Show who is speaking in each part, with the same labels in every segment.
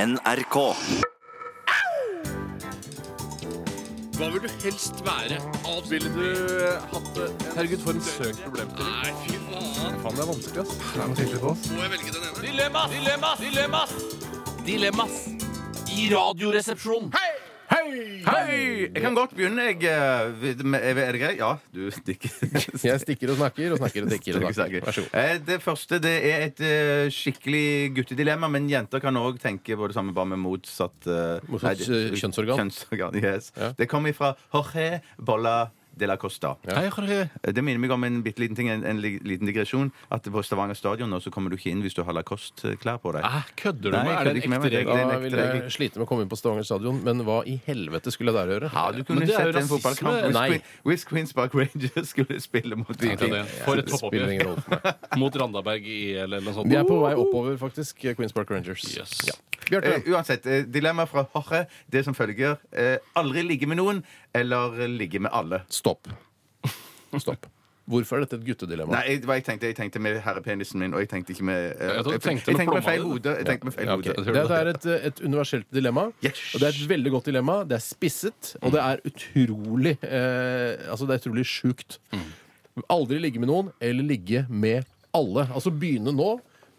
Speaker 1: NRK.
Speaker 2: Hva vil du helst være? Ville du hatt det?
Speaker 3: eh, Herregud, for en søkt problemstilling.
Speaker 2: Nei, fy faen.
Speaker 3: Faen, det er vanskelig, ass.
Speaker 2: Må jeg velge den ene?
Speaker 4: Dilemmas! Dilemmas! Dilemmas! Dilemmas i Radioresepsjonen.
Speaker 5: Hei! Jeg kan godt begynne, jeg. eh, vid- med- Er det greit? Ja, du stikker.
Speaker 3: Jeg stikker og snakker og snakker og stikker. og snakker. Vær så god.
Speaker 5: Eh, Det første det er et eh, skikkelig guttedilemma, men jenter kan òg tenke på det samme, bare med motsatt eh,
Speaker 3: Motsatt,
Speaker 5: nei, det-
Speaker 3: eh, kjønnsorgan.
Speaker 5: kjønnsorgan, yes.
Speaker 3: Ja.
Speaker 5: Det kommer fra Jorge Bolla de la Costa.
Speaker 3: Hei,
Speaker 5: Eh, Det minner meg om en bitte liten ting, en, en li- liten digresjon. At på Stavanger stadion nå så kommer du ikke inn hvis du har lacoste-klær på deg.
Speaker 3: Æ, kødder du
Speaker 5: Nei,
Speaker 3: med?
Speaker 5: jeg
Speaker 3: Er det
Speaker 5: kødder ikke
Speaker 3: en ekte
Speaker 5: med meg. Det er
Speaker 3: regel?
Speaker 5: en
Speaker 3: Da
Speaker 5: ekte
Speaker 3: vil jeg
Speaker 5: regel.
Speaker 3: slite med å komme inn på Stavanger stadion, men hva i helvete skulle jeg der gjøre?
Speaker 5: Ja, du
Speaker 3: Men
Speaker 5: kunne
Speaker 3: det er jo
Speaker 5: sett en
Speaker 3: rasisme.
Speaker 5: fotballkamp hvis,
Speaker 3: Nei.
Speaker 5: Queen- hvis Queens Park Rangers skulle spille mot Viking.
Speaker 2: det. For et
Speaker 3: Det spiller ingen
Speaker 2: toppoppgjør.
Speaker 3: rolle for meg.
Speaker 2: Mot Randaberg
Speaker 3: E
Speaker 2: IL eller noe sånt.
Speaker 3: De er på vei oppover, faktisk, Queens Park Rangers.
Speaker 2: Yes.
Speaker 3: Ja. Bjarte.
Speaker 5: Eh, uansett, eh, dilemma fra Jorge, det som følger. Eh, aldri ligge med noen, eller ligge med alle.
Speaker 3: Stopp. Stopp. Hvorfor er dette et guttedilemma?
Speaker 5: Nei, jeg, hva jeg tenkte jeg tenkte med herrepenisen min, og jeg tenkte ikke med eh,
Speaker 2: Jeg tror du
Speaker 5: jeg,
Speaker 2: tenkte
Speaker 5: jeg
Speaker 2: noe
Speaker 5: tenkte med feil
Speaker 2: plommade.
Speaker 5: hode. Jeg tenkte med feil
Speaker 3: Ja, ok.
Speaker 5: hode.
Speaker 2: Jeg tror
Speaker 3: Det er et, et universelt dilemma,
Speaker 5: Yes.
Speaker 3: og det er et veldig godt dilemma. Det er spisset, og det er utrolig eh, Altså, det er utrolig sjukt. Aldri ligge med noen, eller ligge med alle. Altså begynne nå.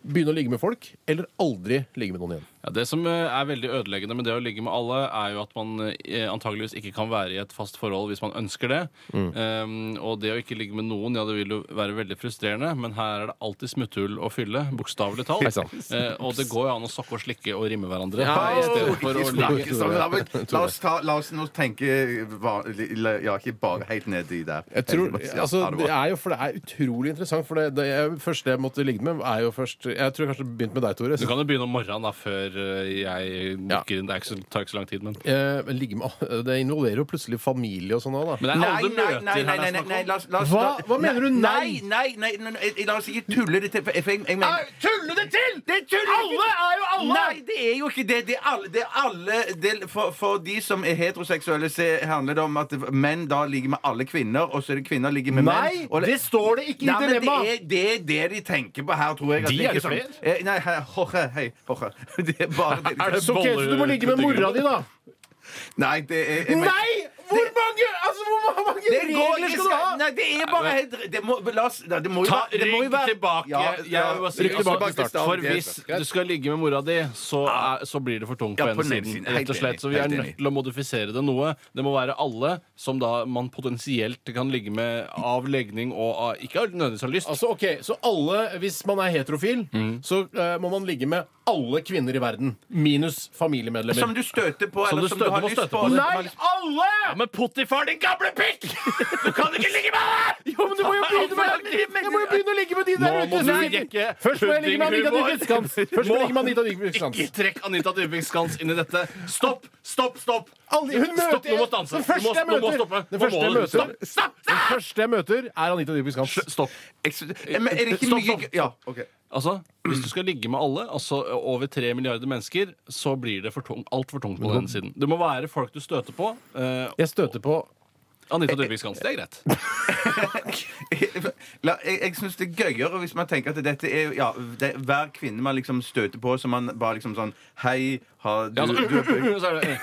Speaker 3: Begynne å ligge med folk, eller aldri ligge med noen igjen.
Speaker 2: Ja, det som eh, er veldig ødeleggende med det å ligge med alle, er jo at man eh, antageligvis ikke kan være i et fast forhold hvis man ønsker det. Um, og det å ikke ligge med noen, ja, det vil jo være veldig frustrerende, men her er det alltid smutthull å fylle, bokstavelig
Speaker 3: Hei
Speaker 2: talt.
Speaker 3: sann.
Speaker 2: Eh, og det går jo an å sokke og slikke og rimme hverandre.
Speaker 3: Ja,
Speaker 2: i stedet for å
Speaker 5: Ikke
Speaker 2: ligge
Speaker 5: snakke sånn, da, men La oss, ta, la oss nå tenke eh, vanlig- Ja, ikke bare helt nedi der. Eh,
Speaker 3: Jeg tror,
Speaker 5: Ja,
Speaker 3: altså,
Speaker 5: ha det bra.
Speaker 3: det, er jo, for det er utrolig interessant. For det, det jeg, første jeg måtte ligge med, er jo først Jeg tror jeg kanskje begynte med deg, Tore.
Speaker 2: Du kan jo begynne om morgenen da, før eh, jeg dukker inn. Det er ikke så, tar ikke så lang tid, men
Speaker 3: Eh, men ligge med, det involverer jo plutselig familie og sånn òg, da.
Speaker 2: Men det er
Speaker 5: Nei,
Speaker 2: alle
Speaker 5: nei,
Speaker 2: møter
Speaker 5: nei, nei,
Speaker 2: her det
Speaker 5: nei,
Speaker 2: er
Speaker 5: nei,
Speaker 2: snakk
Speaker 5: nei,
Speaker 2: om.
Speaker 5: la oss, la oss
Speaker 3: Hva- hva mener du, nei?
Speaker 5: Nei, nei, nei, nei, nei, la oss ikke tulle det til. for Jeg, for jeg, jeg mener
Speaker 3: tulle det til!
Speaker 5: Det tuller ikke-
Speaker 3: Alle er jo alle!
Speaker 5: Nei, det er jo ikke det. Det er alle, det er alle det, for, for de som er heteroseksuelle, så handler det om at menn da ligger med alle kvinner, og så er det kvinner ligger med menn. og-
Speaker 3: står det
Speaker 5: Nei, men det er, det er det de tenker på her, tror jeg. at
Speaker 2: De
Speaker 5: ikke
Speaker 2: er det
Speaker 5: sånn-
Speaker 2: flere?
Speaker 5: Eh, Nei, hei, Jorge. Hei, Jorge. Det er bare det de
Speaker 2: Er det
Speaker 3: Så ok, så du må ligge med mora di, da.
Speaker 5: Nei, det er jeg mener-
Speaker 3: Hvor mange, altså, hvor mange
Speaker 5: Det går ikke skal- Nei, det er bare helt Det må, la oss, nei, det må jo
Speaker 2: Ta
Speaker 5: være det må jo
Speaker 2: rygg
Speaker 5: være-
Speaker 2: tilbake.
Speaker 5: Ja, ja.
Speaker 2: Jeg vil bare si-
Speaker 3: Rygg tilbake til start.
Speaker 2: For
Speaker 5: Yes.
Speaker 2: hvis du skal ligge med mora di, så, er, så blir det for tungt
Speaker 5: Ja,
Speaker 2: på den siden. Rett
Speaker 5: Helt
Speaker 2: og slett. Så vi
Speaker 5: enig,
Speaker 2: er nødt
Speaker 5: helt
Speaker 2: til å modifisere det noe. Det må være alle som da man potensielt kan ligge med av legning og av ikke av nødvendigvis har lyst.
Speaker 3: Altså, ok, Så alle, hvis man er heterofil, så eh, må man ligge med alle kvinner i verden. Minus familiemedlemmer.
Speaker 5: Som du støter på, eller
Speaker 2: du
Speaker 5: som du har
Speaker 2: støter på,
Speaker 5: lyst
Speaker 2: støter
Speaker 5: på.
Speaker 2: på.
Speaker 5: eller som har
Speaker 3: Nei,
Speaker 5: lyst-
Speaker 3: alle!
Speaker 2: Ja, men Pottifar, din gamle pikk! Du kan ikke ligge med meg!
Speaker 3: Jo, men du må jo begynne med Jeg må jo begynne å ligge med de der
Speaker 2: Nå
Speaker 3: ute!
Speaker 2: må du
Speaker 3: som sitter-
Speaker 2: jekke
Speaker 3: Først må jeg ligge med Anita
Speaker 2: puddinghumor.
Speaker 3: Dybvik Skans. Først må jeg ligge med Anita Dybvik Skans.
Speaker 2: Ikke trekk Anita Dybvik Skans inn i dette. Stopp! Stopp! Stopp!
Speaker 3: Alle- hun møter-
Speaker 2: Stopp, nå må stanse.
Speaker 3: Den første
Speaker 2: Du må-
Speaker 3: jeg møter-
Speaker 2: du må stoppe.
Speaker 3: den
Speaker 2: Nå
Speaker 3: første
Speaker 2: må
Speaker 3: jeg
Speaker 2: du-
Speaker 3: møter-
Speaker 2: stopp, stopp,
Speaker 3: Den første jeg møter, er Anita Dybvik Skans.
Speaker 2: Stopp.
Speaker 5: Jeg synes- Eh, Men er det ikke
Speaker 2: Stopp,
Speaker 5: mye
Speaker 2: stopp.
Speaker 5: Ja, ok.
Speaker 2: Altså, Hvis du skal ligge med alle, altså over tre milliarder mennesker, så blir det for tung, altfor tungt på den siden. Det må være folk du støter på. eh,
Speaker 3: Jeg støter på
Speaker 2: Anita Dybvik Skans. Det er greit.
Speaker 5: La, jeg jeg syns det er gøyere hvis man tenker at dette er jo- ja, det, er hver kvinne man liksom støter på, så man bare liksom sånn Hei, har du,
Speaker 2: Ja, altså,
Speaker 5: du
Speaker 2: så er det,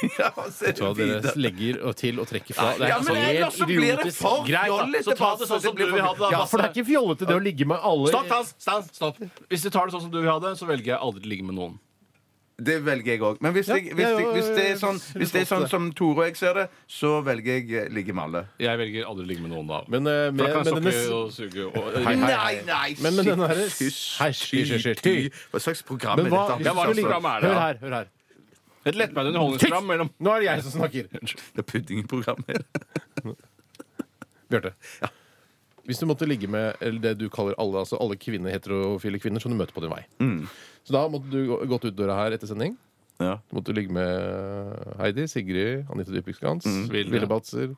Speaker 5: Ja, så er det
Speaker 3: hva dere
Speaker 5: videre.
Speaker 3: legger og til og trekker fra. Det er
Speaker 5: Ja, men
Speaker 3: altså
Speaker 5: ellers så
Speaker 3: helt
Speaker 5: blir det altså.
Speaker 3: idiotisk.
Speaker 5: for
Speaker 2: Greit, da.
Speaker 5: fjollete.
Speaker 2: Så ta det sånn som du vil ha det, da.
Speaker 5: Ja,
Speaker 3: For det er ikke fjollete det å ligge med alle
Speaker 2: Stopp, stans, stans, stopp. Hvis du tar det sånn som du vil ha det, så velger jeg aldri å ligge med noen.
Speaker 5: Det velger jeg òg. Men hvis, jeg, hvis,
Speaker 3: ja,
Speaker 5: jeg, hvis, det er sånn,
Speaker 3: ja,
Speaker 5: hvis det er sånn som Tore og jeg ser det, så velger jeg eh, ligge med alle.
Speaker 2: Jeg velger aldri å ligge med noen da.
Speaker 3: Men, eh,
Speaker 2: For da kan jeg
Speaker 3: men- men
Speaker 2: sokke
Speaker 3: denne-
Speaker 2: og suge og
Speaker 3: Hei, hei,
Speaker 5: Nei,
Speaker 3: hei.
Speaker 5: nei,
Speaker 3: Men- men denne her-
Speaker 5: hysj,
Speaker 3: Hei, hysj, hysj, hysj, hysj.
Speaker 5: Hva slags program
Speaker 3: Men
Speaker 5: er
Speaker 3: hva,
Speaker 5: dette?
Speaker 3: hvis du
Speaker 2: Ja, hva
Speaker 3: skal
Speaker 2: slags
Speaker 3: ligge,
Speaker 2: program er det,
Speaker 3: hør
Speaker 2: da?
Speaker 3: her, hør her.
Speaker 2: Et lettbeint underholdningsprogram mellom
Speaker 3: Nå er det jeg som snakker.
Speaker 5: Det er puddingprogrammet.
Speaker 3: Bjarte. Hvis du måtte ligge med eller det du kaller alle, altså alle kvinner, heterofile kvinner som du møter på din vei Så da måtte du gå- gått ut døra her etter sending.
Speaker 5: Ja.
Speaker 3: Du måtte ligge med eh, Heidi, Sigrid, Anita Dybvik Skans,
Speaker 2: Vilde.
Speaker 3: Ville Batzer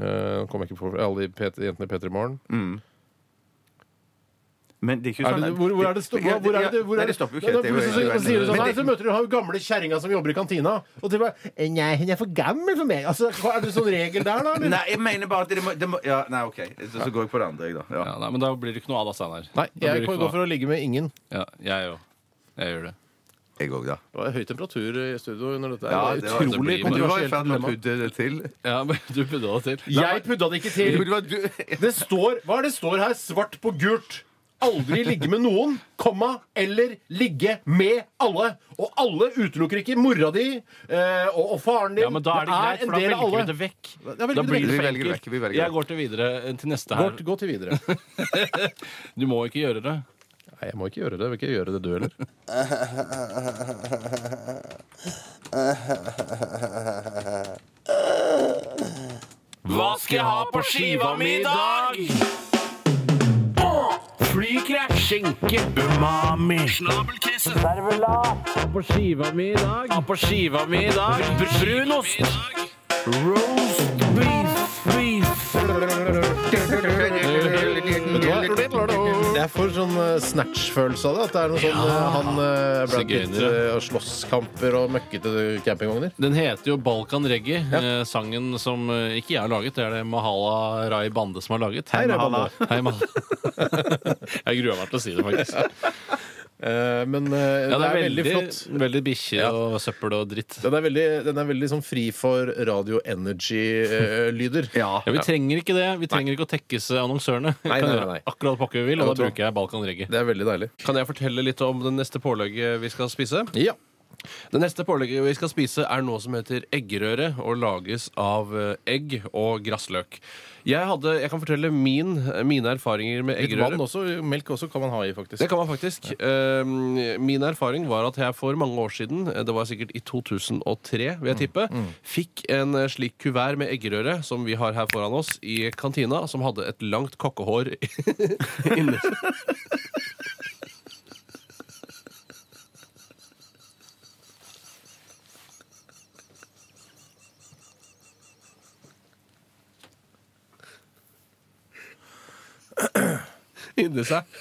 Speaker 3: eh, Kom jeg ikke på alle de P- jentene i P3 Morgen.
Speaker 5: Men det er ikke
Speaker 3: Er
Speaker 5: sånn
Speaker 3: det, hvor, hvor er det stopp?
Speaker 5: Ja,
Speaker 3: Hvor er det, hvor
Speaker 5: Nei,
Speaker 3: er
Speaker 5: det
Speaker 3: det,
Speaker 5: stopper jo
Speaker 3: Nei,
Speaker 5: ikke.
Speaker 3: da
Speaker 5: Det er jo
Speaker 3: plutselig så,
Speaker 5: helt
Speaker 3: så, sier du
Speaker 5: uenig.
Speaker 3: sånn, nei,
Speaker 5: Men det-
Speaker 3: så møter du hun gamle kjerringa som jobber i kantina, og de bare 'Nei, hun er for gammel for meg'. Altså, hva- er det sånn regel der, da? eller?
Speaker 5: Nei, jeg mener bare at det må, det må Ja, nei, OK. Så, så går jeg på det andre, jeg, da. Ja.
Speaker 2: ja, nei, Men da blir det ikke noe av da, Steinar.
Speaker 3: Nei,
Speaker 2: Da blir
Speaker 3: jeg
Speaker 2: det
Speaker 3: kan
Speaker 2: ikke
Speaker 3: gå
Speaker 2: noe
Speaker 3: for å ligge med ingen.
Speaker 2: av. Ja, jeg òg. Jeg gjør det.
Speaker 5: jeg òg, da.
Speaker 3: Det var høy temperatur i studio under dette.
Speaker 5: Ja,
Speaker 3: det
Speaker 5: det
Speaker 3: var
Speaker 5: var-
Speaker 3: utrolig
Speaker 2: det blir-
Speaker 5: Men du var i
Speaker 3: kontroversielt
Speaker 5: ferd med å
Speaker 3: dilemma.
Speaker 5: pudde det til.
Speaker 2: Ja, men du pudda det til.
Speaker 3: Jeg pudda det ikke til.
Speaker 5: Men det var du-
Speaker 3: Det står, hva er det står her? Svart på gult. Aldri ligge med noen, komma, eller ligge med alle. Og alle utelukker ikke mora di eh, og, og faren din.
Speaker 2: Ja, men da er det greit, for da velger vi det vekk.
Speaker 3: Ja, velger
Speaker 2: Da
Speaker 3: vi
Speaker 2: blir
Speaker 3: det vekk.
Speaker 2: det
Speaker 5: Vi
Speaker 2: for
Speaker 5: velger det
Speaker 2: enkelt.
Speaker 5: vekk, vi velger det
Speaker 2: Jeg går til videre eh, til neste her.
Speaker 3: Gå, gå til videre.
Speaker 2: Du må ikke gjøre det.
Speaker 3: Nei, jeg må ikke gjøre det. Jeg vil ikke gjøre det du heller.
Speaker 4: Hva skal jeg ha på skiva mi i dag? Flykrek, skinke, umami, snabelkrisse, servelat. Ha på skiva mi i dag. Ha på skiva mi i dag. Brunost. Roast beef, beef.
Speaker 3: Det er for sånn eh, snatch-følelse av det. At det er noe sånn eh, han eh, Brad Pitt
Speaker 2: Sigøynere.
Speaker 3: eh, og slåsskamper og møkkete campingvogner.
Speaker 2: Den heter jo Balkan Reggae, eh, sangen som eh, ikke jeg har laget. Det er det Mahala Rai Bande som har laget.
Speaker 3: Hei, Rai Bande.
Speaker 2: Hei, Mahala. jeg gruer meg til å si det, faktisk.
Speaker 3: Eh, men eh,
Speaker 2: Ja,
Speaker 3: det, er veldig, flott.
Speaker 2: Veldig bikkje og søppel og dritt.
Speaker 3: Den er veldig, den er veldig sånn fri for radio eh, energy-lyder.
Speaker 5: Ja.
Speaker 2: Ja, Vi trenger ikke det. Vi trenger ikke å tekkes eh, annonsørene. Vi
Speaker 3: Nei,
Speaker 2: kan
Speaker 3: nei,
Speaker 2: gjøre
Speaker 3: nei.
Speaker 2: Akkurat pakke vi vil, og
Speaker 3: vet
Speaker 2: da
Speaker 3: du hva.
Speaker 2: bruker jeg Balkan Reggae.
Speaker 3: Det er veldig deilig.
Speaker 2: Kan jeg fortelle litt om det neste pålegget vi skal spise?
Speaker 3: Ja.
Speaker 2: Det neste pålegget vi skal spise, er noe som heter eggerøre, og lages av eh, egg og grassløk. Jeg, hadde, jeg kan fortelle min, eh, mine erfaringer med
Speaker 3: Litt
Speaker 2: eggerøre.
Speaker 3: vann også. Melk også kan man ha i, faktisk.
Speaker 2: Det kan man faktisk. Eh, min erfaring var at jeg for mange år siden, eh, det var sikkert i 2003, vil jeg tippe, fikk en eh, slik kuvert med eggerøre som vi har her foran oss, i kantina, som hadde et langt kokkehår inni. Inni seg.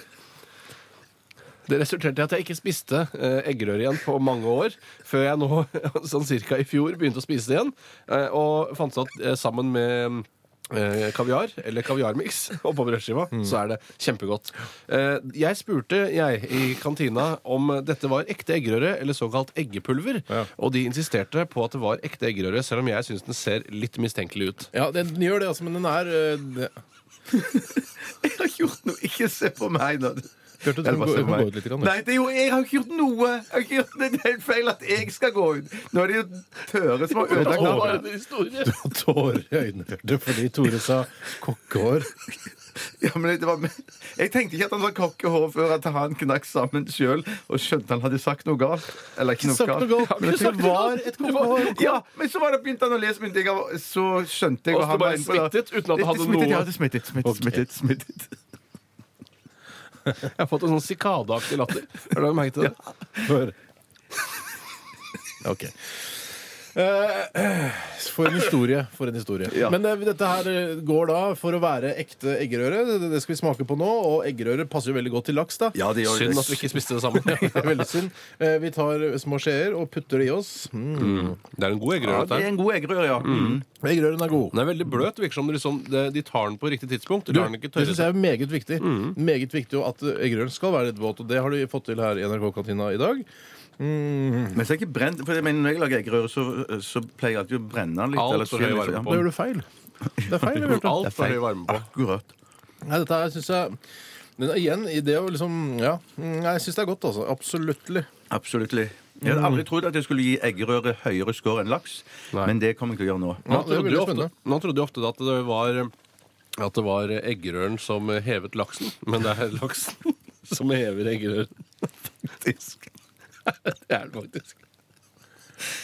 Speaker 2: Det resulterte i at jeg ikke spiste eh, eggerøre igjen på mange år, før jeg nå, sånn cirka i fjor, begynte å spise det igjen, eh, og fant ut at eh, sammen med eh, kaviar, eller kaviarmiks, og på brødskiva, så er det kjempegodt. Eh, jeg spurte, jeg, i kantina om dette var ekte eggerøre, eller såkalt eggepulver, og de insisterte på at det var ekte eggerøre, selv om jeg syns den ser litt mistenkelig ut.
Speaker 3: Ja, den gjør det, altså, men den er øh, det-
Speaker 5: Jeg har ikke gjort noe. Ikke se på meg nå.
Speaker 3: Bjarte, du
Speaker 5: Eller
Speaker 3: må
Speaker 5: bare
Speaker 3: gå-
Speaker 5: se
Speaker 3: du
Speaker 5: på
Speaker 3: må
Speaker 5: meg.
Speaker 3: gå ut litt. Grann, du.
Speaker 5: Nei, det er jo, jeg har ikke gjort noe! Jeg har ikke gjort, det er helt feil at jeg skal gå ut. Nå er det jo Tøre som har ødelagt
Speaker 3: Tore.
Speaker 5: all historie.
Speaker 3: Du har tårer i øynene, Bjarte, fordi Tore sa kokkehår.
Speaker 5: Ja, men det var, jeg tenkte ikke at han var kokkehår før at han knakk sammen sjøl og skjønte han hadde sagt noe galt. Eller ikke noe
Speaker 3: Sagt noe
Speaker 5: galt.
Speaker 3: galt.
Speaker 5: Ja, men
Speaker 3: Men det
Speaker 5: jeg tenkte-
Speaker 3: var et kokkehår.
Speaker 5: Ja, men så var det begynte han å lese myndighet, og så skjønte jeg
Speaker 2: Og så
Speaker 5: han
Speaker 2: bare
Speaker 5: var inne på det.
Speaker 2: smittet, uten at det
Speaker 5: Litt
Speaker 2: hadde
Speaker 5: smittet,
Speaker 2: noe-
Speaker 5: Ja, det smittet, smittet, smittet, smittet.
Speaker 2: Jeg har fått en sånn sikadeaktig latter. Har du merket det?
Speaker 3: Hør. OK. Eh, For en historie. For en historie.
Speaker 5: Ja.
Speaker 3: Men eh, dette her eh, går da for å være ekte eggerøre. Det- Det skal vi smake på nå. Og eggerøre passer jo veldig godt til laks. da
Speaker 5: Ja, det gjør det.
Speaker 2: Synd at vi ikke spiste det sammen.
Speaker 3: Det er veldig synd. Eh, Vi tar små skjeer og putter det i oss. Mm.
Speaker 2: Det er en god eggerøre,
Speaker 5: Ja,
Speaker 2: dette
Speaker 5: det
Speaker 2: her.
Speaker 5: er en god eggerør, ja. Mm.
Speaker 3: Eggerøren er god.
Speaker 2: Den er veldig bløt. Virker som de, liksom, de de tar den på riktig tidspunkt. De
Speaker 3: Du,
Speaker 2: lar den
Speaker 3: det
Speaker 2: ikke tørre
Speaker 3: syns jeg er meget viktig. Meget viktig og at eh, eggerøren skal være litt våt. Og det har du fått til her i NRK-kantina i dag.
Speaker 5: Men så er jeg ikke brent, for jeg mener, når jeg lager eggerøre, så, så pleier jeg alltid å brenne den litt.
Speaker 2: Alt
Speaker 5: eller
Speaker 2: for
Speaker 5: skylle
Speaker 2: høy
Speaker 5: litt,
Speaker 2: varme
Speaker 5: ja.
Speaker 2: på.
Speaker 3: Da gjør du feil. Det er feil. Bjarte.
Speaker 2: Alt for høy varme på.
Speaker 5: Akkurat.
Speaker 3: Nei, dette her syns jeg men igjen, i det å liksom Ja, mm, jeg syns det er godt, altså. Absoluttlig.
Speaker 5: Absolutt. Jeg hadde
Speaker 2: Mm.
Speaker 5: aldri trodd at jeg skulle gi eggerøre høyere score enn laks, men det kommer jeg til å gjøre nå.
Speaker 2: Man
Speaker 3: Ja, det er
Speaker 2: trodde,
Speaker 3: veldig
Speaker 2: jo ofte,
Speaker 3: spennende.
Speaker 2: man trodde jo ofte at det var at det var eggerøren som hevet laksen, men det er laksen som hever eggerøren. Faktisk. Det er det faktisk.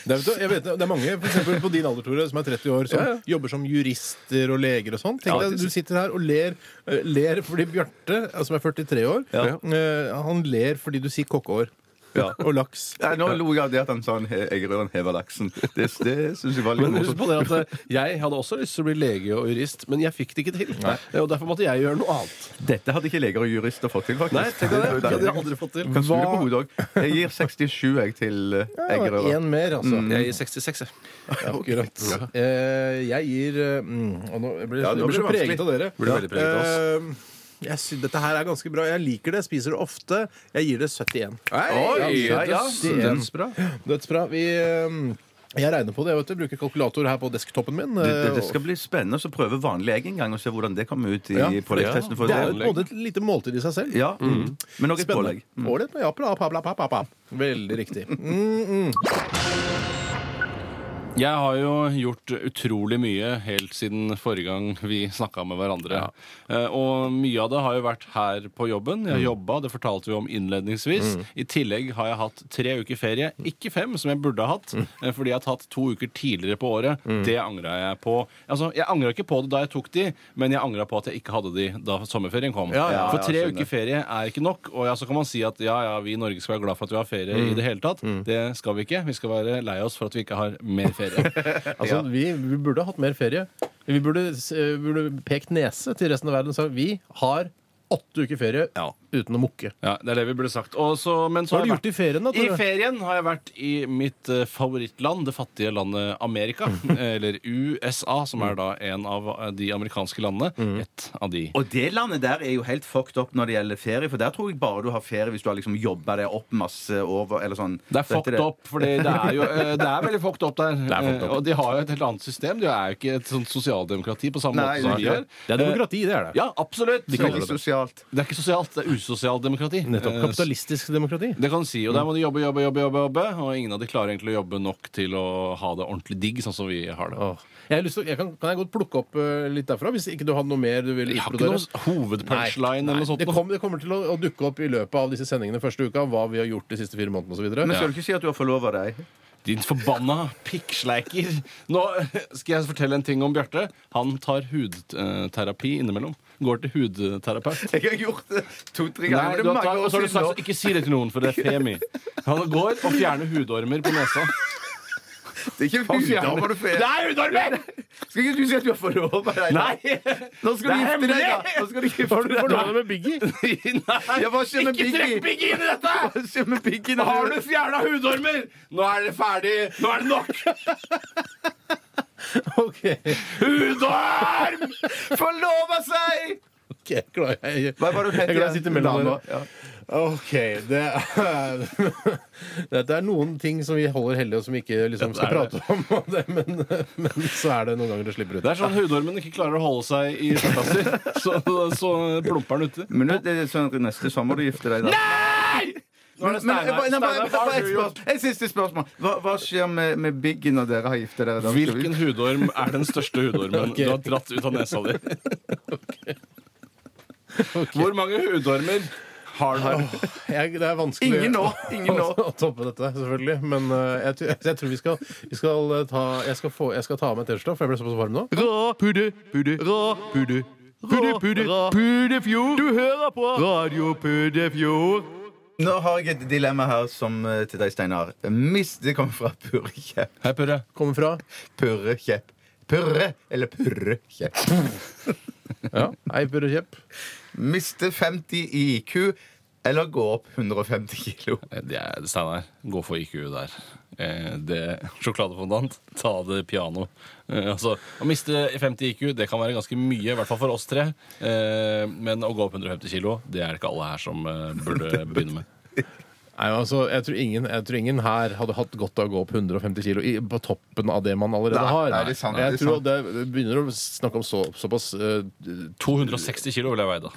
Speaker 3: Det er, vet du, jeg vet, det er mange for eksempel på din alder, Tore, som er 30 år, som
Speaker 2: Ja, ja.
Speaker 3: jobber som jurister og leger og sånn. Tenk
Speaker 2: Ja,
Speaker 3: deg,
Speaker 2: det-
Speaker 3: Du sitter her og ler, eh, ler fordi Bjarte, eh, som er 43 år, eh, han ler fordi du sier kokkehår. Og laks.
Speaker 5: Nei, nå lo jeg av det at han sa han he- eggerøren hever laksen. Det, det syns jeg var litt
Speaker 2: Men husk
Speaker 5: morsomt.
Speaker 2: på det at eh, jeg hadde også lyst til å bli lege og jurist, men jeg fikk det ikke til. Eh, Og derfor måtte jeg gjøre noe annet.
Speaker 5: Dette hadde ikke leger og jurister fått til, faktisk.
Speaker 2: Nei, tenk deg det. Det hadde jeg aldri fått til.
Speaker 5: Kan snu det på hodet òg. Jeg gir 67 jeg til eh, eggerøre.
Speaker 3: Én mer, altså.
Speaker 2: Jeg gir 66, jeg.
Speaker 3: Akkurat. Eh, jeg gir eh, mm, og Nå jeg blir
Speaker 5: Ja,
Speaker 3: jeg
Speaker 5: nå
Speaker 3: blir
Speaker 5: blir
Speaker 3: så
Speaker 5: det
Speaker 3: preget av dere.
Speaker 2: Blir veldig preget av oss.
Speaker 3: Eh, Jeg sy dette her er ganske bra. Jeg liker det, spiser det ofte. Jeg gir det 71.
Speaker 5: Oi, ja, ja,
Speaker 3: dødsdelen.
Speaker 5: dødsbra.
Speaker 3: Dødsbra. Vi, eh, jeg regner på det. vet du Bruker kalkulator her på desktopen min.
Speaker 5: Det, det,
Speaker 3: eh,
Speaker 5: det skal bli spennende å prøve vanlig egg en gang og se hvordan det kommer ut i
Speaker 3: Ja.
Speaker 5: påleggstesten.
Speaker 3: og
Speaker 5: For
Speaker 3: det er jo
Speaker 5: det,
Speaker 3: både et lite måltid i seg selv.
Speaker 5: ja, mm. Men også et pålegg.
Speaker 3: Ålreit, ja, bra, bra, bra, bra, bra. Veldig riktig. Mm,
Speaker 2: Jeg har jo gjort utrolig mye helt siden forrige gang vi snakka med hverandre. Eh, Og mye av det har jo vært her på jobben.
Speaker 3: Mm.
Speaker 2: Jeg har jobba, det fortalte vi om innledningsvis. I tillegg har jeg hatt tre uker ferie. Ikke fem, som jeg burde ha hatt,
Speaker 3: Mm.
Speaker 2: eh, fordi jeg har tatt to uker tidligere på året. Det angra jeg på. Altså, jeg angra ikke på det da jeg tok de, men jeg angra på at jeg ikke hadde de da sommerferien kom.
Speaker 3: Ja, ja,
Speaker 2: For tre
Speaker 5: ja, skjønner.
Speaker 2: uker ferie er ikke nok. Og ja, så kan man si at ja, ja, vi i Norge skal være glad for at vi har ferie i det hele tatt. Det skal vi ikke. Vi skal være lei oss for at vi ikke har mer ferie.
Speaker 3: Altså, vi, vi burde hatt mer ferie. Vi burde, s- eh, burde pekt nese til resten av verden og sagt vi har åtte uker ferie
Speaker 2: Ja.
Speaker 3: uten å mukke.
Speaker 2: Ja, Det er det vi burde sagt. Og så- men så
Speaker 3: Hva har du
Speaker 2: jeg
Speaker 3: gjort i ferien, da?
Speaker 2: vært- I
Speaker 3: Tore?
Speaker 2: ferien har jeg vært i mitt eh, favorittland, det fattige landet Amerika. Eller USA, som er da en av eh, de amerikanske landene. Et av de.
Speaker 5: Og det landet der er jo helt fucked up når det gjelder ferie, for der tror jeg bare du har ferie hvis du har liksom jobba deg opp masse over eller sånn.
Speaker 2: Det er
Speaker 5: Vet
Speaker 2: fucked
Speaker 5: dere?
Speaker 2: up, for det er jo eh, Det er veldig fucked up der.
Speaker 3: er fucked up.
Speaker 2: Eh, Og de har jo et helt annet system. De er jo ikke et sånt sosialdemokrati på samme måte
Speaker 5: Nei,
Speaker 2: som vi er.
Speaker 5: nei.
Speaker 3: Det er demokrati, det er det.
Speaker 2: Ja, absolutt.
Speaker 5: Det er Veldig sosialt.
Speaker 2: Det er ikke sosialt, det er usosialt demokrati.
Speaker 3: Nettopp.
Speaker 2: Eh,
Speaker 3: Kapitalistisk demokrati.
Speaker 2: Det kan du si, og
Speaker 5: Mm.
Speaker 2: Der må de jobbe, jobbe, jobbe, jobbe, jobbe og ingen av de klarer egentlig å jobbe nok til å ha det ordentlig digg. sånn som vi har det.
Speaker 3: Åh. Jeg har lyst til, å- jeg kan, kan jeg godt plukke opp eh, litt derfra, hvis ikke du hadde noe mer du vil
Speaker 2: Jeg har ikke
Speaker 3: utbrodere?
Speaker 2: noen hovedpunchline eller noe sånt.
Speaker 3: Det, kom, det kommer til å, å dukke opp i løpet av disse sendingene første uka, hva vi har gjort de siste fire månedene osv.
Speaker 5: Men skal du ikke si at du har forlova deg?
Speaker 2: Din forbanna pikksleiker. Nå skal jeg fortelle en ting om Bjarte. Han tar hudterapi innimellom. Går til hudterapeut.
Speaker 5: Jeg har gjort det
Speaker 2: Nei,
Speaker 5: to-tre ganger.
Speaker 2: du
Speaker 5: men
Speaker 2: har
Speaker 5: det er
Speaker 2: tatt,
Speaker 5: mange
Speaker 2: og
Speaker 5: år
Speaker 2: så har du
Speaker 5: siden nå.
Speaker 2: sagt ikke si det til noen, for det er femi. Han går og fjerner hudormer på nesa.
Speaker 5: Det er ikke hudormer du får.
Speaker 2: Det er hudormer!
Speaker 5: Skal ikke du si at du har forlova deg?
Speaker 2: Nei!
Speaker 5: Nå skal du
Speaker 2: Det er
Speaker 5: gifte deg,
Speaker 2: hemmelig!
Speaker 5: da! Nå skal du gifte deg.
Speaker 3: med Biggie?
Speaker 2: Nei,
Speaker 5: Ja, hva skjer med
Speaker 2: ikke
Speaker 5: Biggie?
Speaker 2: trekk Biggie inn i dette!
Speaker 5: Hva skjer med piggen?
Speaker 2: Har du fjerna hudormer? Nå er det ferdig. Nå er det nok. Hudorm!
Speaker 5: Forlova seg!
Speaker 3: Ok, klar, jeg,
Speaker 5: Hva var det du het
Speaker 3: jeg er glad jeg
Speaker 5: igjen?
Speaker 3: sitter mellom
Speaker 5: Lama,
Speaker 3: dere. OK. Det er, dette er noen ting som vi holder hellig, og som vi ikke liksom, skal prate om. og Det, men, men så er det noen ganger det slipper ut.
Speaker 2: Det er sånn hudormen ikke klarer å holde seg i skjortasser, så, så plumper den uti.
Speaker 5: Men nå, det er sånn at neste sommer du gifter deg, da.
Speaker 2: Nå er det
Speaker 5: Men-
Speaker 2: Steinar.
Speaker 5: men- nei, bare-
Speaker 2: Steinar, hva
Speaker 5: bare
Speaker 2: har
Speaker 5: et
Speaker 2: du gjort?
Speaker 5: spørsmål. Et siste spørsmål. Hva, hva skjer med, med Biggie når dere har giftet dere? da? Skal vi-
Speaker 2: Hvilken hudorm er den største hudormen
Speaker 3: Ok.
Speaker 2: du har dratt ut av nesa di? Hvor mange hudormer har du?
Speaker 3: Jeg, det er vanskelig
Speaker 5: Ingen nå! Ingen nå.
Speaker 3: å toppe dette, selvfølgelig. Men eh, jeg, tror- jeg tror vi skal, vi skal eh, ta Jeg skal, få, jeg skal ta av meg T-skjorta, for jeg ble såpass varm nå.
Speaker 1: Rå pudde, pudde, rå pudde. Pudde, pudde, puddefjord. Du hører på Radio Puddefjord.
Speaker 5: Nå har jeg et dilemma her som eh, til deg, Steinar. Mist, det kommer fra Purre Kjepp.
Speaker 2: Hei, Purre.
Speaker 3: Kommer fra
Speaker 5: Purre Kjepp. Purre eller Purre Kjepp.
Speaker 3: ja. Eiper og Kjepp.
Speaker 5: Miste 50 i IQ eller gå opp 150 kilo.
Speaker 2: Eh, Det er Steinar. Gå for IQ der. Eh, Det Sjokoladefondant, ta det piano. Eh, Altså, å miste 50 IQ det kan være ganske mye, i hvert fall for oss tre. Eh, Men å gå opp 150 kilo, det er det ikke alle her som eh, burde begynne med.
Speaker 3: Nei, altså, jeg tror, ingen, jeg tror ingen her hadde hatt godt av å gå opp 150 kilo i, på toppen av det man allerede
Speaker 5: Nei,
Speaker 3: har.
Speaker 5: nei, det er sant,
Speaker 3: jeg
Speaker 5: det er
Speaker 3: tror det begynner å snakke om så, såpass eh,
Speaker 2: 260 kilo ville jeg veid,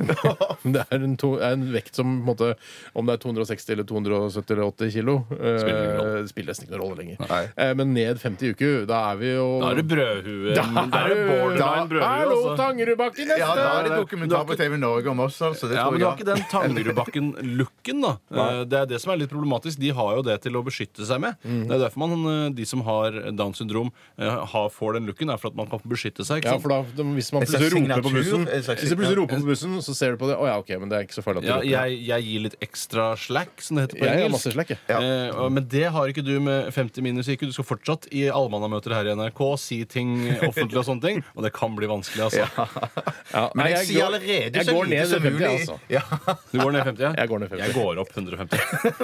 Speaker 2: da.
Speaker 3: Det er en, to, er en vekt som på en måte, om det er 260 eller 270 eller 80 kilo, eh,
Speaker 2: Spiller ingen rolle.
Speaker 3: spiller nesten ikke noen rolle lenger.
Speaker 5: Nei.
Speaker 3: Eh, men ned 50 uker, da er vi jo
Speaker 2: Da er det brødhue. Da er det
Speaker 3: Da
Speaker 2: borderline
Speaker 3: er
Speaker 2: brødhue.
Speaker 3: Hallo,
Speaker 2: Altså.
Speaker 3: Tangerudbakken neste!
Speaker 5: Ja, da er det dokumentar på TV Norge om oss, altså. Det
Speaker 2: Ja,
Speaker 5: tror
Speaker 2: men du har
Speaker 5: jeg.
Speaker 2: ikke den Tangerudbakken-looken, da. Eh, Det er det som er litt problematisk. De har jo det til å beskytte seg med.
Speaker 3: Mm.
Speaker 2: Det er derfor man, eh, de som har Downs syndrom, eh, har, får den looken. er for at man kan beskytte seg. Ikke
Speaker 3: Ja,
Speaker 2: sant?
Speaker 3: for da, da- hvis man
Speaker 5: En slags
Speaker 3: plutselig roper på
Speaker 5: signatur,
Speaker 3: bussen,
Speaker 5: en slags
Speaker 3: hvis du plutselig
Speaker 5: signatur.
Speaker 3: roper på bussen, så ser du på det. Å ja, OK, men det er ikke så farlig at du
Speaker 2: Ja,
Speaker 3: roper.
Speaker 2: jeg, jeg gir litt ekstra slack, som det heter på
Speaker 3: Jeg har
Speaker 2: engelsk.
Speaker 3: masse slack, jeg.
Speaker 2: Eh, og- men det har ikke du med 50 minus IQ. Du skal fortsatt i allmannamøter her i NRK si ting offentlig og sånne ting. Og det kan bli vanskelig, altså.
Speaker 3: Ja,
Speaker 5: Men
Speaker 3: nei,
Speaker 5: jeg, sier allerede
Speaker 3: jeg
Speaker 5: så
Speaker 3: går
Speaker 5: lite
Speaker 3: ned
Speaker 5: som
Speaker 3: 50,
Speaker 5: mulig.
Speaker 3: altså.
Speaker 5: Ja.
Speaker 2: Du går ned 50?
Speaker 3: Jeg går ned 50.
Speaker 2: Jeg går opp 150.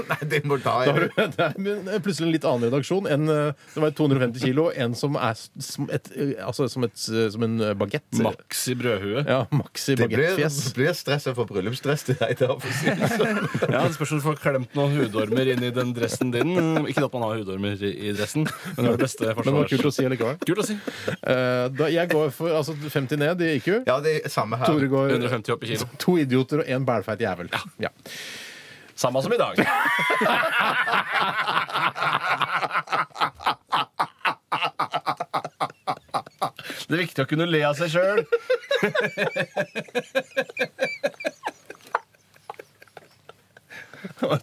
Speaker 4: Nei, det må ta
Speaker 3: Da har du, det er men plutselig en litt annen redaksjon. En eh, som veier 250 kilo, en som er s- som, et, eh, altså, som, et, eh, som en bagett.
Speaker 2: Maxi brødhue.
Speaker 3: Ja, maxi
Speaker 4: Det blir,
Speaker 3: bagettfjes.
Speaker 4: blir stress for bryllupsdress til deg. Det, er for å si det sånn.
Speaker 2: Ja, Det spørs om du får klemt noen hudormer inn i den dressen din. Mm, Ikke at man har hudormer i i dressen, men det er det beste
Speaker 3: Men det var
Speaker 2: forsvars...
Speaker 3: kult å si allikevel.
Speaker 2: Kult å si.
Speaker 3: Eh, da, jeg går for altså, 50 ned i IQ.
Speaker 4: ja, det er samme her.
Speaker 3: Tore går
Speaker 2: 150 opp i kilo.
Speaker 3: to idioter og en bælfeit jævel. Ja.
Speaker 2: Samme som i dag. Det er viktig å kunne le av seg sjøl.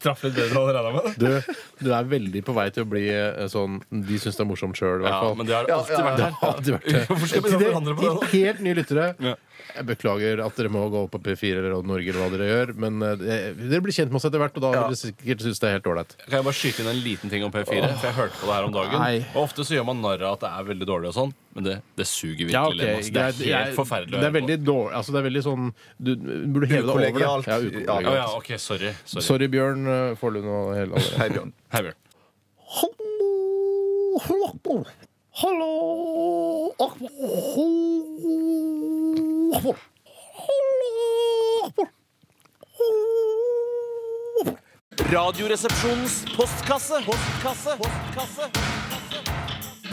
Speaker 2: Traff litt bedre enn jeg regna med.
Speaker 3: Du, du er veldig på vei til å bli eh, sånn De syns det er morsomt sjøl,
Speaker 2: Ja,
Speaker 3: i hvert fall.
Speaker 2: men det har alltid vært
Speaker 3: Det
Speaker 2: her.
Speaker 3: har alltid vært det.
Speaker 2: Hvorfor skal vi
Speaker 3: Til
Speaker 2: da forandre på det
Speaker 3: til
Speaker 2: da?
Speaker 3: Helt nye lyttere.
Speaker 2: Ja.
Speaker 3: Jeg beklager at dere må gå opp på P4 eller Radio Norge eller hva dere gjør, men eh, det- dere blir kjent med oss etter hvert, og da vil dere sikkert synes det er helt ålreit.
Speaker 2: Kan jeg bare skyte inn en liten ting om P4? For jeg hørte på det her om dagen.
Speaker 3: Nei.
Speaker 2: Og ofte så gjør man narr av at det er veldig dårlig og sånn, men det, det suger virkelig.
Speaker 3: Ja, ok,
Speaker 2: lem, ass. Det
Speaker 3: greit.
Speaker 2: er helt
Speaker 3: Jeg-
Speaker 2: forferdelig. å
Speaker 3: Det er
Speaker 2: høre på.
Speaker 3: veldig dårlig altså, Det er veldig sånn Du du burde heve deg over det.
Speaker 4: Ukollegialt. Ja,
Speaker 3: Ja,
Speaker 2: Å ja,
Speaker 3: ukollegialt.
Speaker 2: OK, sorry. sorry.
Speaker 3: Sorry, Bjørn eh, Forlund og hele alle.
Speaker 4: Hei, Bjørn.
Speaker 2: Hei, Bjørn.
Speaker 3: Hallo Hallo Hallo
Speaker 6: Radioresepsjonens postkasse. Postkasse. Postkasse.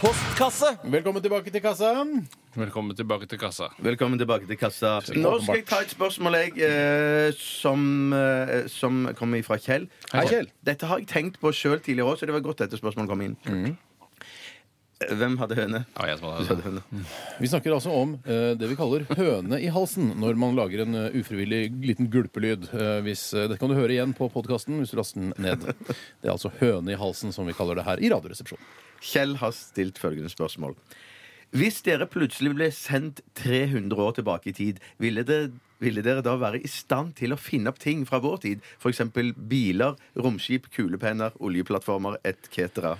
Speaker 6: Postkasse.
Speaker 3: Velkommen tilbake til kassa.
Speaker 2: Velkommen tilbake til kassa.
Speaker 5: Velkommen tilbake til kassa. Nå skal jeg ta et spørsmål jeg, eh, som, eh, som kommer fra Kjell.
Speaker 3: Hei, Kjell.
Speaker 5: Dette har jeg tenkt på sjøl tidligere òg, så det var godt dette spørsmålet kom inn.
Speaker 3: Mm.
Speaker 5: Eh, Hvem hadde høne?
Speaker 2: Ja, Ah, jeg som
Speaker 5: Du
Speaker 2: hadde
Speaker 5: hadde høne.
Speaker 3: Vi snakker altså om eh, det vi kaller høne i halsen når man lager en eh, ufrivillig liten gulpelyd. Eh, hvis, eh, dette kan du høre igjen på podkasten hvis du laster den ned. Det er altså høne i halsen som vi kaller det her i Radioresepsjonen.
Speaker 5: Kjell har stilt følgende spørsmål. Hvis dere plutselig ble sendt 300 år tilbake i tid, ville dere, ville dere da være i stand til å finne opp ting fra vår tid? F.eks. biler, romskip, kulepenner, oljeplattformer etc.